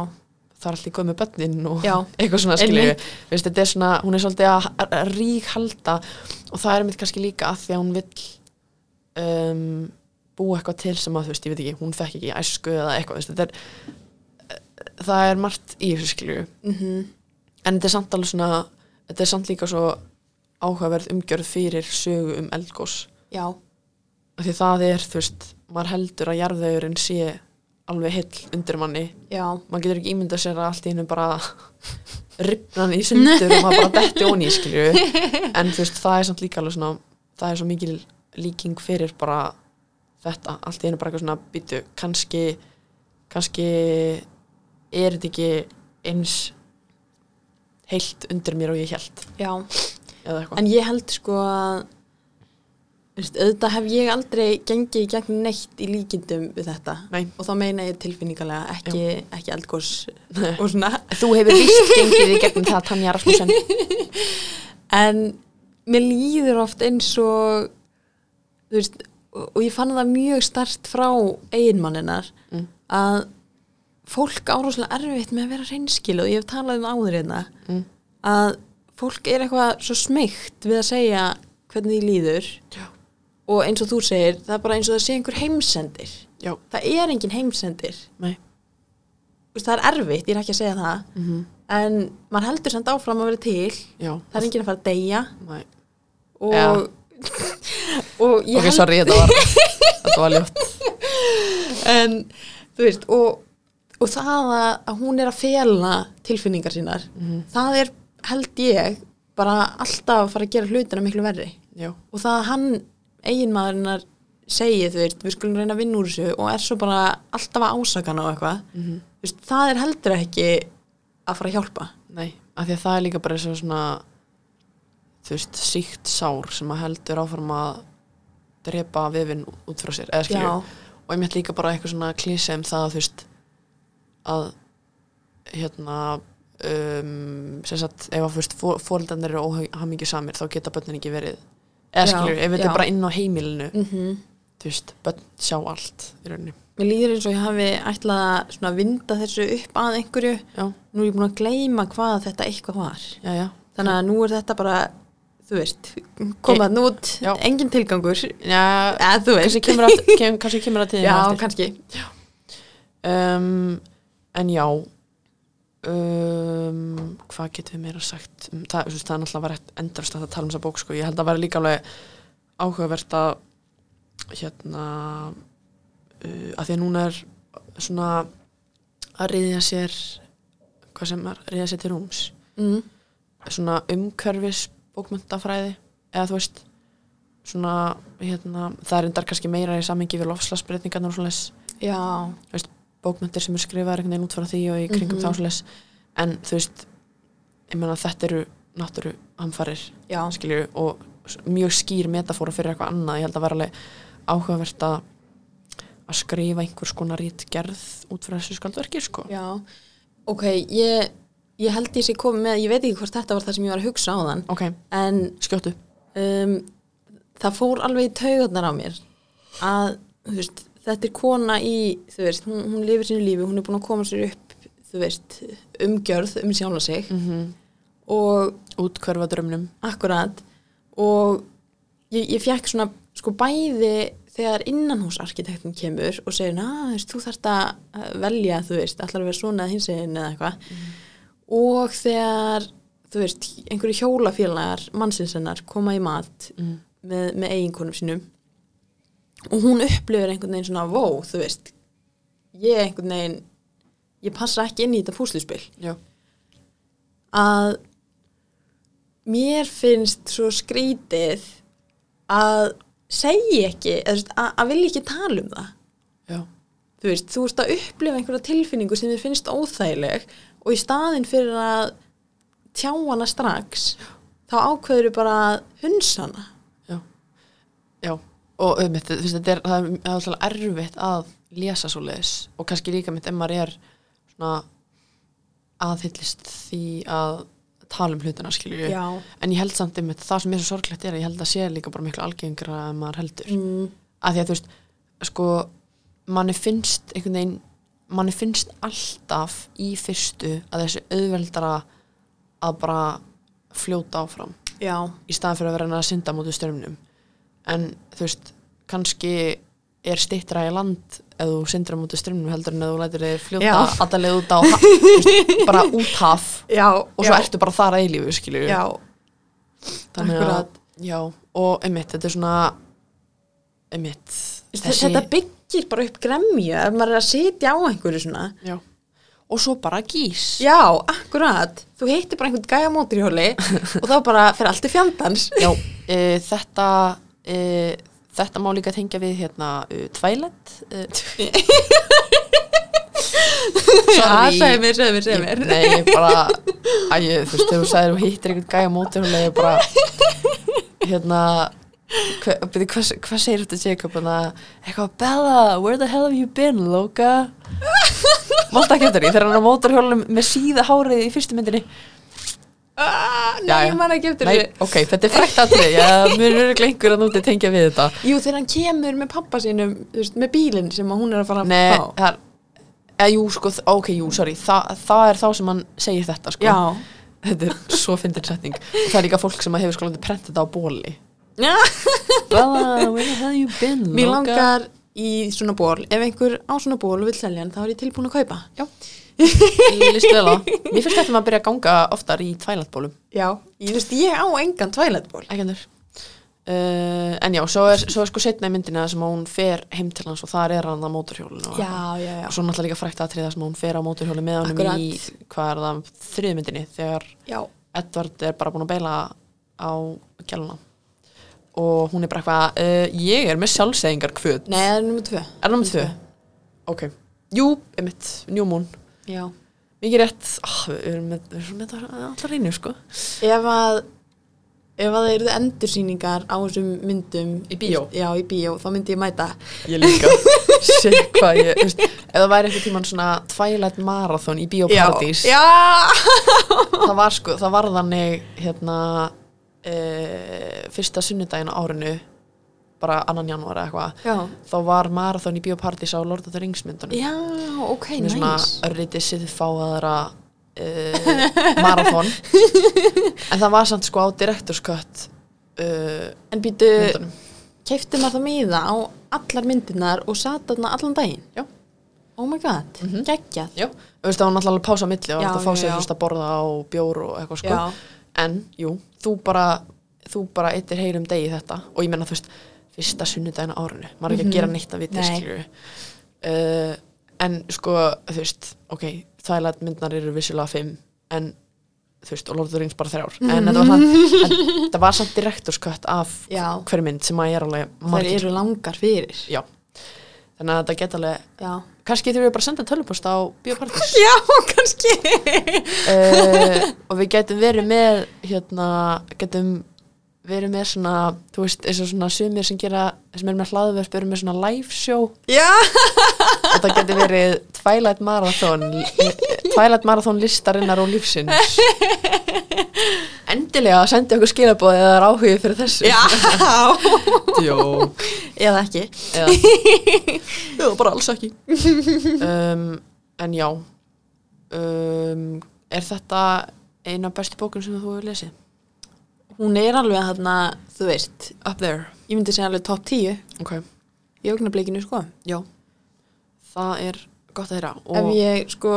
það er allir góð með börnin og
já,
eitthvað svona skilju
Einmitt.
Vist, þetta er svona, hún er svolítið að- að rík halda og það er mitt kannski líka að því að hún vill um, búa eitthvað til sem að þú veist, ég veit ekki, hún fekk ekki í æsku eða eitthvað, veist, þetta er eh, það er margt í þessu skilju
mhm,
en þetta er samt alveg svona þetta er samt líka svo áhugaverð umgjörð fyrir sögu um eldgós
já
af því það er, þú veist, maður heldur að jarðvegurinn sé alveg heill undir manni
já,
maður getur ekki ímyndað sér að allt í hennu bara ripna hann í sundur og maður bara detti onni, skilju en þú veist, það er samt líka alveg svona það er svo mikil líking fyrir bara þetta, allt í hennu bara eitthvað svona býtu, kannski kannski er þetta ekki eins heilt undir mér og ég held
já
eða eitthvað,
En ég held sko að þú veist, auðvitað hef ég aldrei gengið í gegn neitt í líkindum við þetta
Nei.
og þá meina ég tilfinningalega ekki, ekki eldgós og svona
þú hefur vist gengið í gegnum það Tanja Rasmussen
en mér líður oft eins og þú veist og og ég fann það mjög start frá eiginmanninar
Mm.
að fólk áráslega erfitt með að vera reynskil og ég hef talað um það áður hérna
Mm.
að fólk er eitthvað svo smeykt við að segja hvernig því líður
já,
og eins og þú segir, það er bara eins og það sé einhver heimsendir
já,
það er engin heimsendir
nei
Þú veist, það er erfitt, ég er ekki að segja það
mm
en maður heldur samt áfram að vera til
já,
það er engin að fara að deyja
nei
og,
Já.
og ég
ok, sorry, þetta var, þetta var ljótt
held en, þú veist, og, og það að að hún er að fela tilfinningar sínar
Mm-hmm,
það er, held ég bara alltaf að fara að gera hlutina miklu verri
já,
og það að hann eiginmaðurinnar segi þú veist, við skulum reyna að vinna úr þessu og er svo bara alltaf að ásaka hann á eitthvað
Mhm.
þú veist, það er heldur ekki að fara að hjálpa
Nei, af því að það er líka bara eins og svona þú veist, síkt sár sem að heldur áfram að drepa vefin út frá sér eða skilju, og ég mitt líka bara eitthvað svona klísi um það að þú veist að hérna um, sem sagt, ef að þú veist fóreldarnir eru óhamingi samir þá geta börnin ekki verið eða
Já,
skilju, ef þetta
já.
er bara inn á heimilinu
mm -hmm.
þú veist, börn sjá allt í rauninni,
mér líður eins og ég hafi ætlað að svona vinda þessu upp að einhverju
já,
nú er ég búin að gleyma hvað þetta eitthvað var
já, já
þannig að nú er þetta bara þú veist, komað nú út
Já.
engin tilgangur,
Já,
eða þú veist
kannski kemur að, kem, kannski kemur að tíðin
já,
eftir.
kannski
um, en já um, hvað getum við meira sagt um, það, þessi, það er náttúrulega verið endurst að tala um þessa bók sko. ég held að vera líka alveg áhugavert að hérna uh, að því að núna er svona að riðja sér hvað sem er, riðja sér til rúms
mm.
svona umhverfis bókmyndafræði eða þú veist svona hérna, það er endar kannski meira í samingi við lofslagsbreytingarnar og svoleiðis
já,
bókmyndir sem eru skrifaðar einhvern veginn út frá því og í kringum mm
Mhm.
þá svoleiðis en þú veist, ég meina þetta eru náttúru hamfarir
já,
skilju og s- mjög skýr metafóra fyrir eitthvað annað, ég held að vera alveg áhugavert að að skrifa einhvers konar rítgerð út frá þessu skaldverki sko
já ok, ég, ég held ég sé komið með ég veit ekki hvort þetta var það sem ég var að hugsa á þann
ok,
en
skjóttu
um, það fór alveg í taugarnar á mér að þú veist, þetta er kona í þú veist, hún, hún lifir sínu lífi, hún er búin að koma sér upp þú veist, umgjörð um sjálfa sig
mm
og
útkörfa drömnum
akkurat og ég, ég fekk svona sko bæði þegar innanhúsarkitektin kemur og segir, na, þú veist, þú þarft að eh, velja, þú veist, allar að vera svona eða hinsegin eða eitthvað og þegar, þú veist, einhverju hjólafélagar mannsinsennar koma í mat
Mm.
með, með eiginkonum sínum og hún upplifir einhvern veginn svona, vó, þú veist ég einhvern veginn ég passa ekki inn í þetta púsluspil
já,
að mér finnst svo skrítið að segja ekki, eða þú veist, að, að vilja ekki tala um það.
já,
Þú veist, þú veist að upplifa einhverja tilfinningu sem þér finnst óþægileg og í staðin fyrir að tjá hana strax, þá ákveður bara að hunsa hana.
já já, og um, þetta, þú veist, þetta er, það er það er alltaf erfitt að lesa svo leis og kannski líka mitt ef maður er svona aðhyllist því að tala um hlutina skilju en ég held samt einmitt, það sem er svo sorglegt er að ég held að sé líka bara miklu algengra en maður heldur
Mm,
að því að þú veist sko, manni finnst einhvern veginn, manni finnst alltaf í fyrstu að þessu auðveldara að bara fljóta áfram
já,
í staðan fyrir að vera henni að synda mútu strömmnum en þú veist, kannski er stittra í land ef þú syndir á mútu strömmnum heldur en ef þú lætir þig fljóta
Já.
alltaf leið út á ha- þú veist, bara út haf
já,
og svo ertu bara þar að eilífu skilju
já,
Þannig
Akkurat.
að, já, og einmitt, þetta er svona einmitt
Þessi... þetta byggir bara upp gremju ef maður er að sitja á einhverju svona.
já. og svo bara gís
Já, akkurat. Þú heitir bara einhvern gæja móturhjóli og þá bara fer allt í fjandans.
Já, e, þetta e, þetta má líka tengja við hérna e, Twilight e, Sorry
Ah, segðu mér, segðu mér, segðu
Ég-
mér.
Nei, ég bara æ, ég, þú veist, þegar þú sagðir og hittir einhvern gæja mótur og leiði bara hérna hver, byrju, hvað, hvað segir þetta Jacob hana, eitthvað, Bella, where the hell have you been, Loka Mást ekki eftir því, þegar hann er á mótorhjólum með síða hárið í fyrstu myndinni
Ah, nei,
Jæja.
ég man ekki eftir
Nei,
þessu.
ok, þetta er frækt atrið, já, mér eru glengur að núti tengja við þetta
Jú, þegar hann kemur með pappa sínum, þú veist, með bílinn sem að hún er að fara að
Nei,
fá.
það er, eða jú, sko, þ- ok, jú, sorry, Þa, það er þá sem hann segir þetta, sko
Já.
Þetta er svo fyndin setning og það er líka fólk sem hefur sko landið prentið þetta á bóli
Já.
Bella, where have you been?
Mér
Loka?
langar í svona ból. Ef einhver á svona ból og vil selja hann, þá er ég tilbúin að kaupa.
Já, ég listu vel á Mér finnst þetta maður að byrja að ganga oftar í tvælandbólum
Já. Ég, þú veist, ég á engan tvælætból.
Ekki endur uh, En já, svo er, svo er sko setna í myndina sem að hún fer heim til hans og þar er hann á mótorhjólinu og-
já, já.
og svo náttúrulega líka frækt aðtriða sem hún fer á mótorhjóli með honum
Akkurat.
í, hvað er það, þriðmyndinni þegar
Já.
Edvard er bara búin að beila á kjáluna og hún er bara eitthvað uh, ég er með sjálfsæðingar kvöt
Nei, það er nummer tvö.
er það með tvö? ok, jú, emitt, New Moon
Já.
mikið rétt, ah, við erum með, við erum með þetta alltaf reynu sko
ef að ef að það eru endursýningar á þessum myndum
Í bíó?
já, í bíó, þá myndi ég mæta
ég líka, sé hvað ég veist, ef það væri eitthvað tíman svona Twilight Marathon í Bíóparadís
já, já,
það var sko, það var þannig hérna uh, fyrsta sunnudaginn á árinu bara annan janúar eða eitthvað
já.
þá var marathon í Bíóparadís á Lord of the Rings myndunum
já ok,
Hún er
næs
svona örlítið siðfáðara uh, marathon en það var samt sko á Directors Cut uh,
en býtu,
myndunum
keifti maður það miða á allar myndinar og sat þarna allan daginn
Já. Mhm.
oh my god, geggjað
já, þú veist það var náttúrulega alveg pása á milli og
Já,
þetta fá
já,
sér
já.
þú veist að borða á bjór og eitthvað sko
Já.
en jú, þú bara þú bara eittir heyrum degi þetta og ég menna þú veist, fyrsta sunnudaginn á árinu maður er ekki að gera neitt að viti
Mhm. Nei.
skilju uh, en sko þú veist, ok, þvælætt myndnar eru vissulega fimm, en þú veist, og Lord of the Rings bara þrjár en þetta var samt, en, þetta var samt direktorskött af
Mhm. Já.
hver mynd sem að ég er alveg
þær
margir,
eru langar fyrir
já þannig að þetta geta alveg
já.
kannski þurfum við bara að senda tölupost á biopartis
Já, kannski.
uh, og við getum verið með hérna, getum verið með svona, þú veist, eins og svona sumir sem gera, sem er með hlaðverf eru með svona live show
Já,
og það getur verið Twilight Marathon Twilight Marathon listarinnar og lífsins endilega sendi okkur skilabóð eða það er áhugið fyrir þessu
já.
Jó.
Eða ekki.
eða, eða bara alls ekki um, en já um, er þetta eina bestu bókun sem þú hefur lesið?
Hún er alveg þarna, þú veist,
Up there
ég myndi segja alveg topp 10
okay.
í augnablikinu, sko.
Já, það er gott að heyra
Ef
og
ég, sko,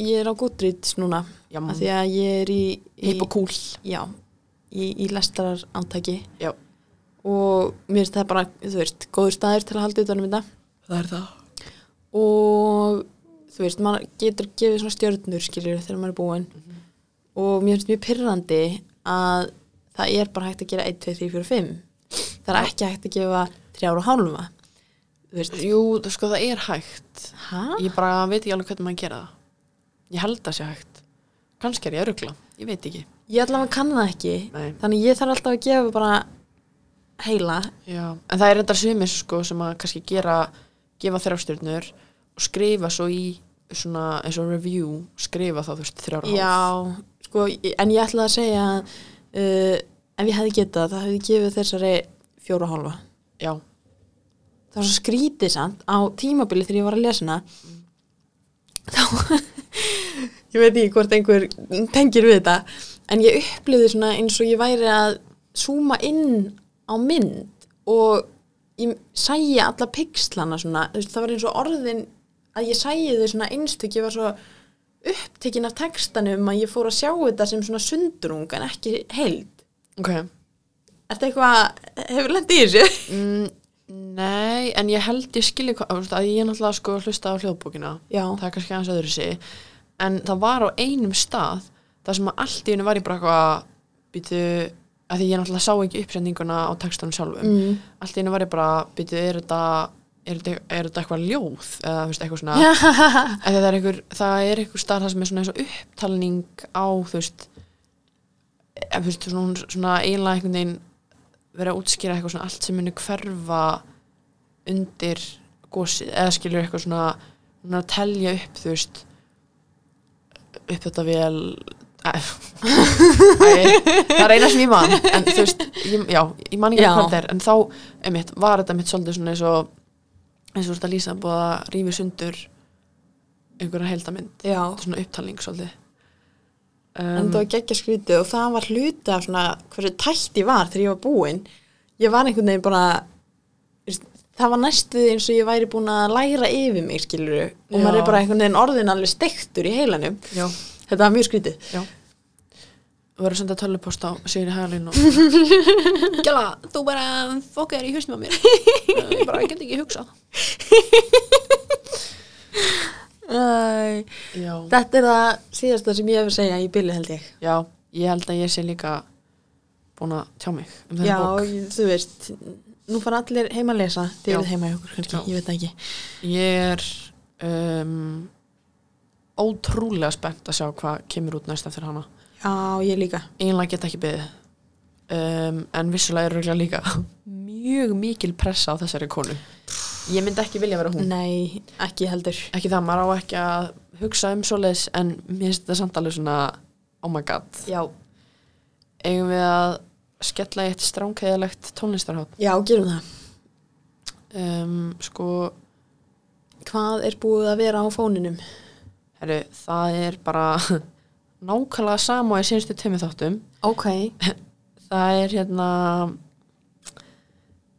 ég er á Goodreads núna,
já,
af því að ég er í... í
hipp og kúl
Já, í, í lestarar átaki.
Já.
Og mér finnst það bara, þú veist, góður staður til að halda utanum þetta.
Það er það
og þú veist, maður getur gefið svona stjörnur skilur þegar maður er búinn
Mhm.
og mér finnst mjög pyrrandi að það er bara hægt að gera 1, 2, 3, 4, 5 það er ekki hægt að gefa 3 ára og hálfa þú veist,
Jú, þú sko það er hægt
hæ?
Ég bara veit ekki alveg hvernig maður gera það Ég held það sé hægt Kannski er ég að rugla, ég veit ekki
ég allavega kann það ekki
Nei.
þannig ég þarf alltaf að gefa bara heila
Já. En það er þetta sumir sko sem að kannski gera gefa þrjástjörnur og skrifa svo í svona eins og review skrifa þá þú veist þrjára
já, sko, ég- en ég ætla að segja að uh, ef ég hefði getað það hefði ég gefið þessari 4 og hálfa
Já,
það var svo skrítið samt á tímabili þegar ég var að lesa hana þá ég veit ekki hvort einhver tengir við þetta en ég upplifði svona eins og ég væri að súma inn á mynd og ég sæja alla pixlana svona þú veist, það var eins og orðin að ég sæja þau svona einstök ég var svo upptekin af textanum að ég fór að sjá þetta sem svona sundrung en ekki heild
ok
Er þetta eitthvað, hefur lendið í þessu?
mm, Nei, en ég held ég skilji hvað, þú veist, að ég náttúrulega sko hlusta á hljóðbókina
Já,
það er kannski aðeins öðru sig en það var á einum stað það sem að allt í hennu var ég bara eitthvað býtu, af því ég náttúrulega sá ekki uppsendinguna á textunum sjálfum
mm.
allt í hennu var ég bara, býtu, er þetta er þetta, er þetta eitthvað ljóð eða þú veist, eitthvað svona
já,
Af því það er einhver, það er einhver stað það sem er svona eins og upptalning á þú veist, eða, þú veist svona, hún- svona eiginlega einhvern veginn vera að útskýra eitthvað svona allt sem muni hverfa undir gósið eða skilur eitthvað svona hún er að telja upp þú veist upp þetta vel Æ, það er eina sem ég man en þú veist, ég, já, ég man ekki
Já.
hvað það er en þá, einmitt, var þetta mitt svolítið svona eins og eins og þú ert að lýsa búið að rífi sundur einhverja heildamynd
já.
þetta er svona upptalning svolítið Um,
en það var geggja skrítið og það var hluti af svona hversu tætt ég var þegar ég var búin ég var einhvern veginn bara veist, það var næstuð eins og ég væri búin að læra yfir mig skiluru og
Já.
maður er bara einhvern veginn orðin alveg steiktur í heilanum
já,
þetta var mjög skrítið
já þú verður að senda tölupost á Sigri Hæglín og
Gjala, þú bara fokkar í hausnum á mér Ég bara get ekki hugsað
Æ,
já.
þetta er það síðasta sem ég hef að segja í byllu held ég
já, ég held að ég sé líka búin að tjá mig um
já,
þennan bók
ég- þú veist nú fara allir heima að lesa þið
Já.
eruð heima hjá okkur kannski,
Já.
ég veit það ekki
ég er um, ótrúlega spennt að sjá hvað kemur út næst eftir hana
já, ég líka
einlega get ekki beðið um, en vissulega er röglega líka mjög mikil pressa á þessari konu ég myndi ekki vilja
Mm.
vera hún
nei, ekki heldur
ekki það, maður á ekki að hugsa um svoleiðis en mér finnst þetta samt alveg svona oh my god,
já,
eigum við að skella í eitt stránkæðilegt tónlistarhátt
já gerum það
um, sko,
hvað er búið að vera á fóninum
herru, það er bara nákvæmlega sama og í síðustu tömmu þáttum
ok,
það er hérna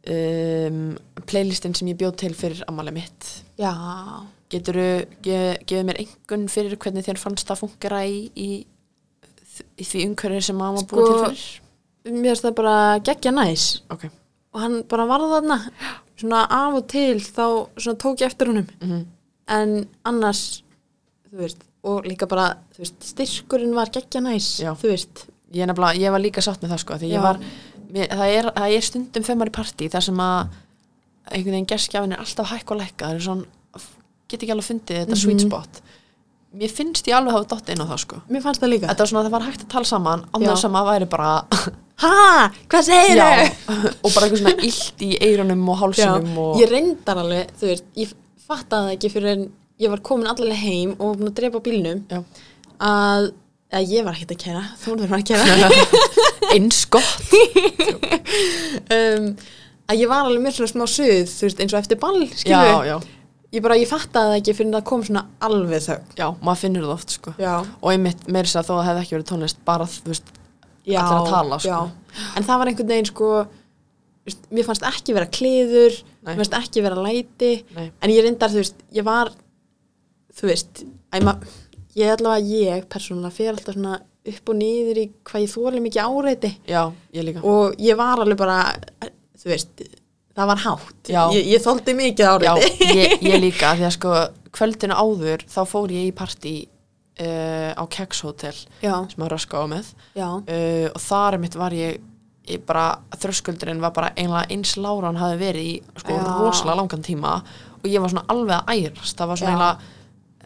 um, playlistin sem ég bjóð til fyrir ammali mitt
já
geturðu ge, gefið mér einhvern fyrir hvernig þér fannst það fungera í, í, í því umhverju sem maður búið
Sko-
til fyrir
mér finnst það bara geggja næs
ok,
og hann bara varð þarna svona af og til þá svona tók ég eftir honum
mhm
en annars þú veist, og líka bara þú veist, styrkurinn var geggja næs
Já.
þú veist,
ég, nefnilega, ég var líka satt með það sko því
Já.
ég var, mér, það, er, það er stundum þegar maður er í partí þar sem að einhvern veginn gerskjafin er alltaf hækka og lækka það er svona, get ekki alveg fundið þetta
Mhm.
sweet spot mér finnst ég alveg hafa dott inn á það sko
Mér fannst það líka
þetta var svona að það var hægt að tala saman án
Já.
þess að maður væri bara
Ha, hvað segir
já, og bara eitthvað svona illt í eyrunum og hálsinum og
Ég reyndar alveg, þú veist, ég fattaði það ekki fyrir en ég var komin allavega heim og var búin að drepa á bílnum
Já.
að, að ég var ekkert að kæra, þú voru að kæra
eins gott
um, að ég var alveg með svona smá suð, þú veist, eins og eftir ball, skilur
já, já,
Ég bara, ég fattaði það ekki fyrir en það kom svona alveg þögn
já, maður finnur það oft sko.
Já,
og einmitt meira þess að þó að það hefði ekki verið tónlist bara þú veist,
já,
Allir að tala, sko.
já. En það var einhvern veginn, sko, þú veist, mér fannst ekki vera kliður,
Nei.
mér fannst ekki vera læti
nei,
en ég reyndar, þú veist, ég var þú veist ég, ma, ég allavega, ég persónulega fer alltaf svona upp og niður í hvað ég þóli mikið áreiti
já, ég líka
og ég var alveg bara þú veist, það var hátt
Já.
ég, ég þóldi mikið
Já,
áreiti
ég, ég líka, af því að sko kvöldinu áður þá fór ég í partí uh, á Keks Hotel
já,
sem að röska á með
já,
uh, og þar mitt var ég, ég bara, þröskuldurinn var bara einlega eins lára hann hafi verið í sko
Já.
rosalega langan tíma og ég var svona alveg að ærast, það var
Já.
svona einlega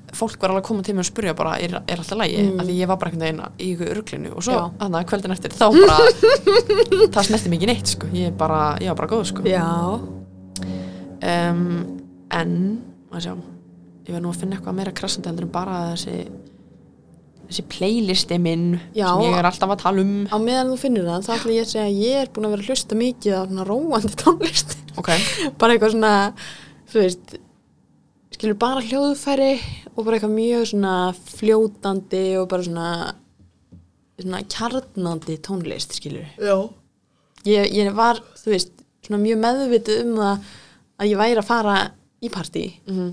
fólk var alveg að koma til mig og spurja bara er, er alltaf lægi,
Mm.
af því ég var bara einhvern veginn í ykkur urglinu og svo
Já.
þannig að kvöldin eftir þá bara það snerti mikið neitt sko, ég bara, ég var bara góð sko
já.
um, en að sjá, ég verð nú að finna eitthvað meira krassandi heldur en bara þessi þessi playlisti minn
Já.
sem ég er alltaf að tala um
á meðan þú finnur það, þá ætla ég að segja að ég er búin að vera að hlusta mikið á svona róandi tónlist
ok,
bara eitthvað svona, þú veist skilur bara hljóðfæri og bara eitthvað mjög svona fljótandi og bara svona svona kjarnandi tónlist skilur
já,
ég, ég var, þú veist, svona mjög meðvitið um það að ég væri að fara í partí
Mhm,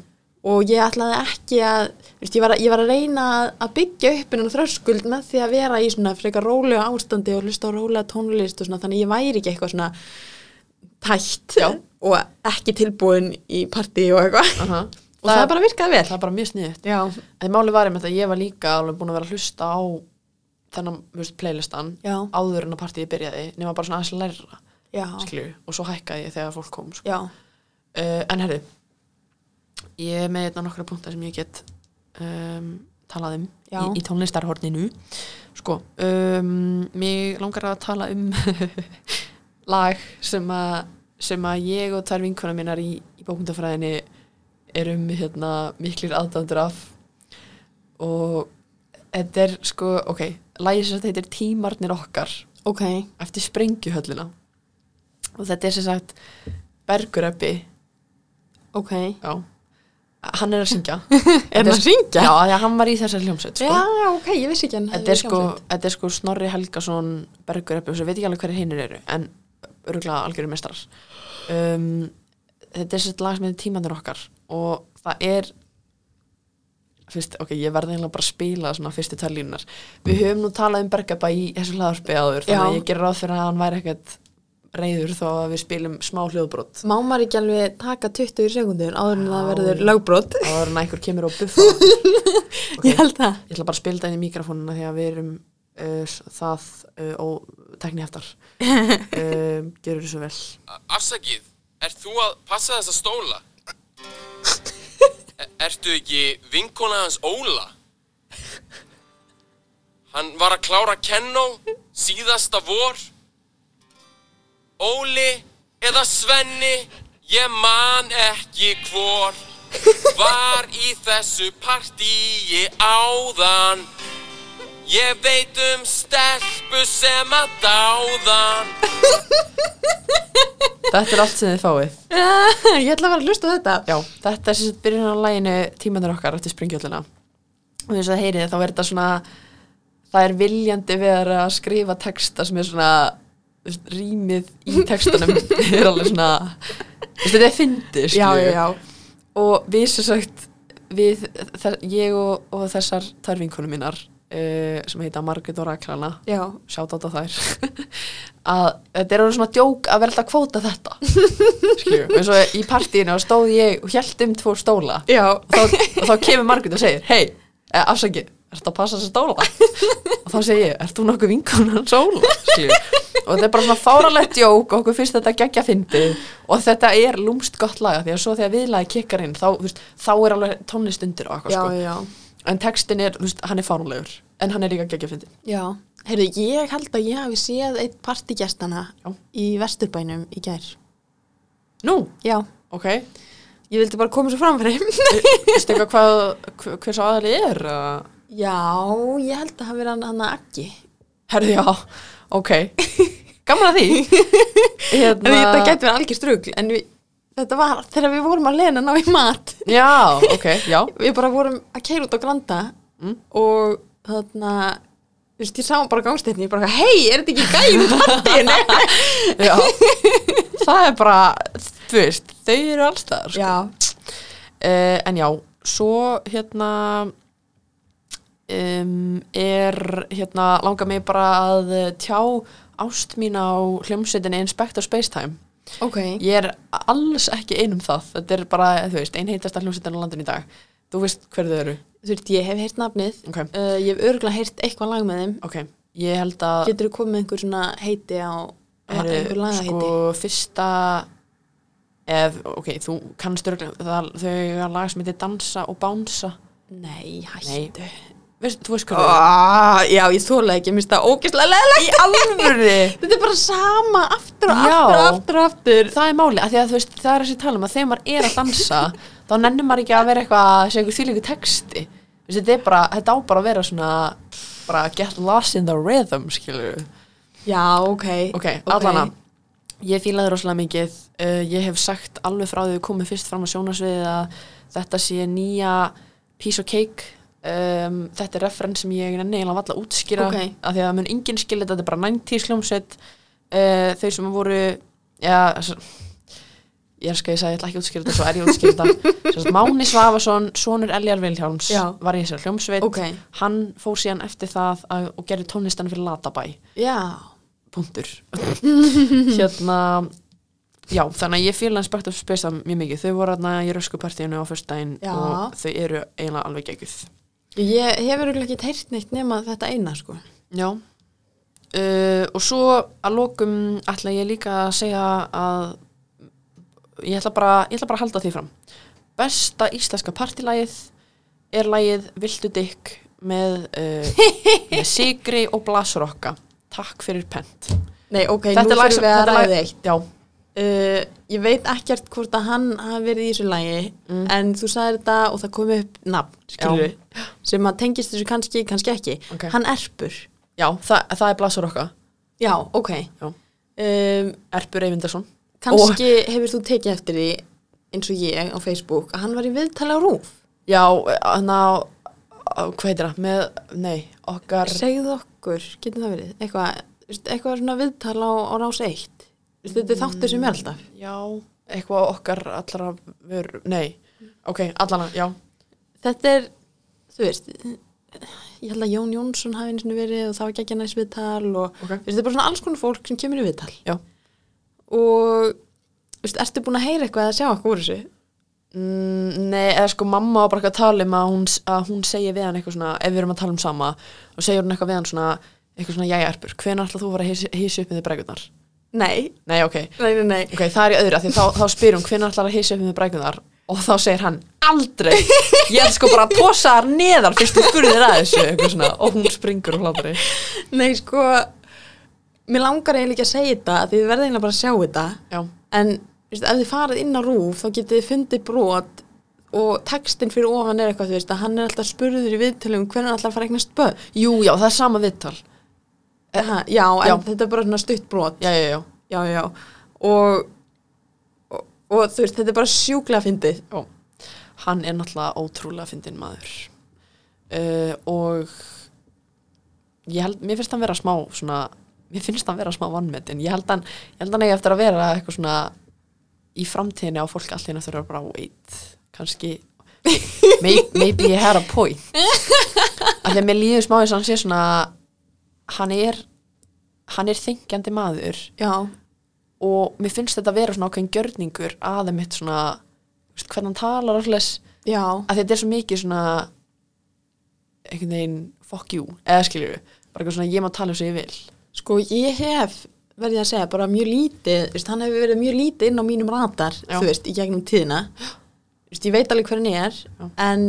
og ég ætlaði ekki að þú veist, ég, var að, ég var að reyna að- að byggja upp innan þröskuld með því að vera í svona frekar rólega ástandi og hlusta á rólega tónlist og svona þannig að ég væri ekki eitthvað svona tætt
Já.
og ekki tilbúin í partí og eitthvað
uh
og það, bara virkaði vel
það er bara mjög sniðið
já,
en máli var einmitt að ég var líka alveg búin að vera að hlusta á þennan, þú veist, playlistan
já,
áður en að partíið byrjaði, nema bara svona aðeins lærra
já,
skilju, og svo hækkaði ég þegar fólk kom sko.
já.
uh, en herri ég er með einna nokkra punktar sem ég get um, talað um
Já.
í, í tónlistarhorninu sko, um, mér langar að tala um lag sem að sem að ég og tvær vinkona mínar í, í bókundafræðinni erum hérna miklir aðdöndur af og þetta er sko, ok, lagið sem sagt heitir Tímarnir okkar
ok,
eftir sprengjuhöllina og þetta er sem sagt Berguröppi
ok
Já, hann er að syngja
er það að syngja?
Já, því að hann var í þessari hljómsveit sko.
já, ok, ég vissi ekki hann
þetta, er sko, þetta er sko Snorri Helgason Bergur Eppjós, ég veit ekki alveg hverju hinnir eru en öruglega algjörum mestrar um, Þetta er sett lag sem heitir tímanir okkar og það er fyrst, ok, ég verði eiginlega bara að spila svona fyrstu tvær línunar Við höfum nú talað um Bergabæ í þessu hlaðarpi áður þannig
Já.
að ég gerir ráð fyrir að hann væri ekkert reyður þó að við spilum smá hljóðbrot
Má maður ekki alveg taka 20 sekundur áður en það
Já.
verður lögbrot?
Það er hann að einhver kemur og buffa hann. Ok.
Ég held það.
Ég ætla bara að spila það inn í mikrofónuna því að við erum uh, s- það uh, og tekni heftar. Uh, gerur þessu vel.
Afsakið, ert þú að passa þessa stóla? E ertu ekki vinkona hans Óla? Hann var að klára kennó síðasta vor. Óli eða Svenni, ég man ekki hvor. Var í þessu partíi áðan. Ég veit um stelpu sem að dáðan.
Þetta er allt sem þið fáið.
Ég ætla að vera að hlusta á þetta.
Já, þetta er sem sagt byrjun á læginu tímandur okkar eftir springjöluna. Og þess að heyrið þá er þetta svona, það er viljandi við að vera að skrifa texta sem er svona þú veist, rýmið í textanum er alveg svona, þú veist, þetta er fyndið,
Já,
skilju.
já, já.
og við sem sagt við, þess, ég og, og þessar törfinkunum mínar uh, sem heita Margrét og Rakrana
Já,
sjátt á þær að þetta er orðið svona djók að vera alltaf að kvóta þetta skilju, eins og í partíinu og stóð ég og hjælt um tvo stóla
já.
og þá, og þá kemur Margrét og segir hei, eh, afsaki, er þetta að passa þessi stóla? og þá segi ég, ert þú nokkuð vinkonan sóla? Skilju. og þetta er bara svona fáralegt jók og okkur finnst þetta geggja fyndi og þetta er lúmst gott laga því að svo þegar viðlagi kikkar inn þá, þú veist, þá er alveg tónlist undir og eitthvað
já,
sko
já,
en textin er, þú veist, hann er fáránlegur en hann er líka geggja fyndi
já heyrðu, ég held að ég hafi séð eitt partigjastana
Já.
í Vesturbænum í gær
nú,
já,
ok,
ég vildi bara koma svo framfyrir
veistu eitthvað hvað hver, hver svo aðali er eða?
já, ég held að hafi verið hann- hann að aggi
herðu já, ok gaman að því
En
hérna,
þetta getur verið algjör strugl en við, þetta var þegar við vorum að leina ná í mat
já, ok, já
við bara vorum að keira út á Granda
Mm.
og þarna þú veist, ég sá bara gangstetni, ég bara hei, er þetta ekki gæði í partíinu?
Já, það er bara, þú veist, þau eru allstaðar sko.
Já,
uh, En já, svo hérna um, er, hérna, langar mig bara að eh, tjá ást mín á hljómsveitinni Inspector Spacetime
ok
Ég er alls ekki einum það, þetta er bara, þú veist, einheitasta hljómsveitin á landinu í dag Þú veist hver þau eru,
Þú veist, ég hef heyrt nafnið
ok,
uh, ég hef örgulega heyrt eitthvað lag með þeim
ok Ég held að,
Getur þú komið með einhver svona heiti á á
Heyrðu,
einhver lagaheiti?
sko, fyrsta ef, ok, þú kannst örugglega- það, þau eiga lag sem heitir Dansa og Bánsa
Nei,
Nei.
hættu
veist, þú veist hvað
Ah, Já, ég þóla ekki, mér finnst það ógeðslega leðilegt
alvöru
Þetta er bara sama aftur og
Já.
aftur og aftur og aftur
það er máli, af því að þú veist, það er þessi tala um að þegar maður er að dansa, þá nennir maður ekki að vera eitthvað, að segja eitthvað þýlíku texti Þú veist, þetta er bara, þetta á bara að vera svona bara get lost in the rhythm skilur við,
Já, ok
ok, allana ég fílaði rosalega mikið uh, ég hef sagt alveg frá því við komum fyrst fram á sjónasviðið að þetta sé nýja piece of cake um, þetta er referens sem ég nenni eiginlega valla að útskýra
Ok.
af því að það mun enginn skilja þetta þetta er bara 90s hljómsveit uh, þau sem voru ja, s- ég er sko að ég sagði ég ætla ekki að útskýra þetta svo er ég að útskýra þetta Sem sagt, Máni Svavason, sonur Eljar Vilhjálms
Já.
var í þessari hljómsveit
Ok,
hann fór síðan eftir það að, og gerði tónlistan fyrir Latabæ
já
punktur hérna já, þannig að ég fíla hans bætt að spesa mjög mikið, þau voru hérna í röskupartíinu á fyrstdæin
Já.
og þau eru eiginlega alveg geggjuð
Ég hef örugglega ekki heyrt neitt nema þetta eina sko
já uh, og svo að lokum ætla ég líka að segja að ég ætla bara, ég ætla bara að halda því fram besta íslenska partilagið er lagið Viltu Dykk með, uh, með Sigri og Blasrokka takk fyrir pent
Nei, ok,
Þetta er
nú
lag
þurfum
sem-
við að
þetta er lag-
ræða eitt
já,
uh, Ég veit ekkert hvort að hann hafi verið í þessu lagi
Mm.
en þú sagði þetta og það kom upp nafn, skilur
Já.
sem að tengist þessu kannski, kannski ekki
Ok.
Hann erpur
já það, það er Blasrokka
Já, ok
Já.
Um,
Erpur Eyvindarsson
Kannski hefur þú tekið eftir því eins og ég á Facebook að hann var í viðtali á rúf
Já, hann á á- hvað heitir það, með, nei, okkar
Segðu okkur, getur það verið eitthvað, þú veist, eitthvað svona viðtal á, á rás eitt Þú veist, þetta er þáttur sem er alltaf
Já, eitthvað okkar allra vör, nei, ok, allana, já
þetta er, þú veist ég held að Jón Jónsson hafi einu sinni verið og það var ekki ekki næst viðtal og
Ok.
þú veist, þetta er bara svona alls konar fólk sem kemur í viðtal
Já.
og þú veist, ertu búin að heyra eitthvað að sjá okkur úr þessu?
mm, Nei, eða sko mamma var bara eitthvað að tala um að hún, að hún segja við hann eitthvað svona ef við erum að tala um sama og segja hún eitthvað við hann svona eitthvað svona, jæja Erpur, hvenær ætla þú að fara að hýsa- hýsa upp með þið brækurnar?
Nei,
Nei, ok,
nei, nei, nei
ok, það er í öðru af því þá, þá spyr hún hvenær ætlar að hýsa upp með þið brækurnar og þá segir hann aldrei ég er sko bara að tosa þar neðar fyrst þú skurðir að þessu eitthvað svona, og hún springur og hlátri
Nei, sko mér langar eiginlega ekki að segja þetta því þið verða eiginlega bara að sjá þetta
Já,
en þú veist, ef þið farið inn á rúf þá getið þið fundið brot og textin fyrir ofan er eitthvað, þú veist, að hann er alltaf spurður í viðtölum hvernig hann alltaf að fara að eignast börn
Jú, já, það er sama viðtal
Aha, já, en
Já.
þetta er bara svona stutt brot
Já, já, já,
já, já og, og, og þú veist, þetta er bara sjúklega fyndið
já. Hann er náttúrulega ótrúlega fyndin maður uh, Og ég held, mér finnst hann vera smá svona, mér finnst hann vera smá vannmetin ég held hann, ég held hann eigi eftir að vera eitthvað svona í framtíðinni á fólk allir eftir að vera bara wait kannski may, maybe ég had a point af því að mér líður smá eins og hann sé svona hann er hann er þengjandi maður
já,
og mér finnst þetta að vera svona ákveðin gjörningur aðeimitt svona þú veist, hvernig hann talar allsles
já,
að þetta er svo mikið svona einhvern veginn fuck you, eða skiljur bara eitthvað svona ég má tala um sem ég vil
Sko, ég hef, verði að segja, bara mjög lítið, þú veist, hann hefur verið mjög lítið inn á mínum radar,
Já.
þú veist, í gegnum tíðina. Þú veist, ég veit alveg hver hann er,
Já.
en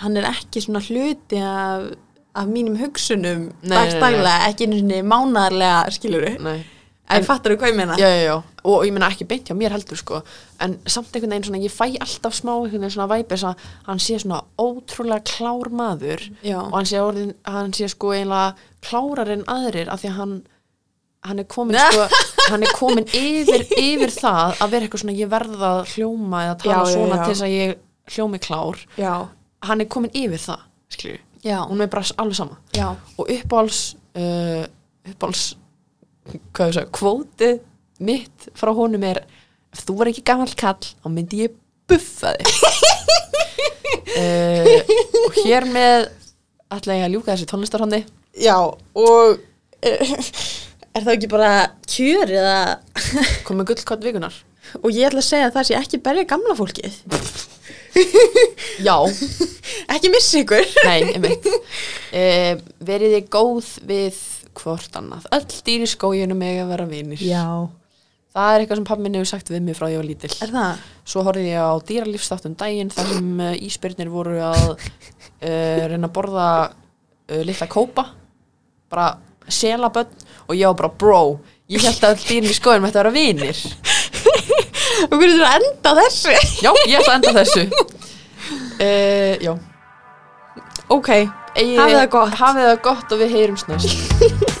hann er ekki svona hluti af, af mínum hugsunum
Nei, nei, nei, nei.
dagstaglega, ekki einu sinni mánarlega, skilurðu.
Nei.
En fattar þú hvað ég meina?
já, já, já, og ég meina ekki beint hjá mér heldur sko, en samt einhvern veginn svona ég fæ alltaf smá einhvern veginn svona væpis að hann sé svona ótrúlega klár maður
Já.
og hann sé, orðin, hann sé sko eiginlega klárar en aðrir af því að hann hann er komin sko, hann er komin yfir, yfir það að vera eitthvað svona ég verða að hljóma eða tala
Já, já,
svona
já.
til þess að ég hljómi klár
Já,
hann er komin yfir það, skilju
já,
hún er bara alveg sama
já.
og uppáhals uh, uppáhals hvað ég sagði, kvóti mitt frá honum er ef þú var ekki gamall kall þá myndi ég buffa þig uh, og hér með ætla ég að ljúka þessi tónlistarhóndi
Já, og eh, er það ekki bara kjör eða...
komið gullkott vikunar
Og ég ætla að segja að það sé ekki berja gamla fólkið.
já,
Ekki missi ykkur.
nei, einmitt uh, verið þið góð við hvort annað, öll dýr í skóginum eiga að vera vinir það er eitthvað sem pappi minn hefur sagt við mig frá því ég var lítill
Er það?
Svo horfði ég á dýralífstátt um daginn þar sem uh, ísbyrnir voru að uh, reyna að borða uh, litla kópa bara selabönn og ég var bara bro, ég held að all dýrin í skoðunum ætti að vera vinir
Og hvernig þú að enda á þessu?
Já, ég ætla að enda þessu uh, Já
Ok,
Eigið-
Hafið það gott.
Hafið það gott og við heyrumst næst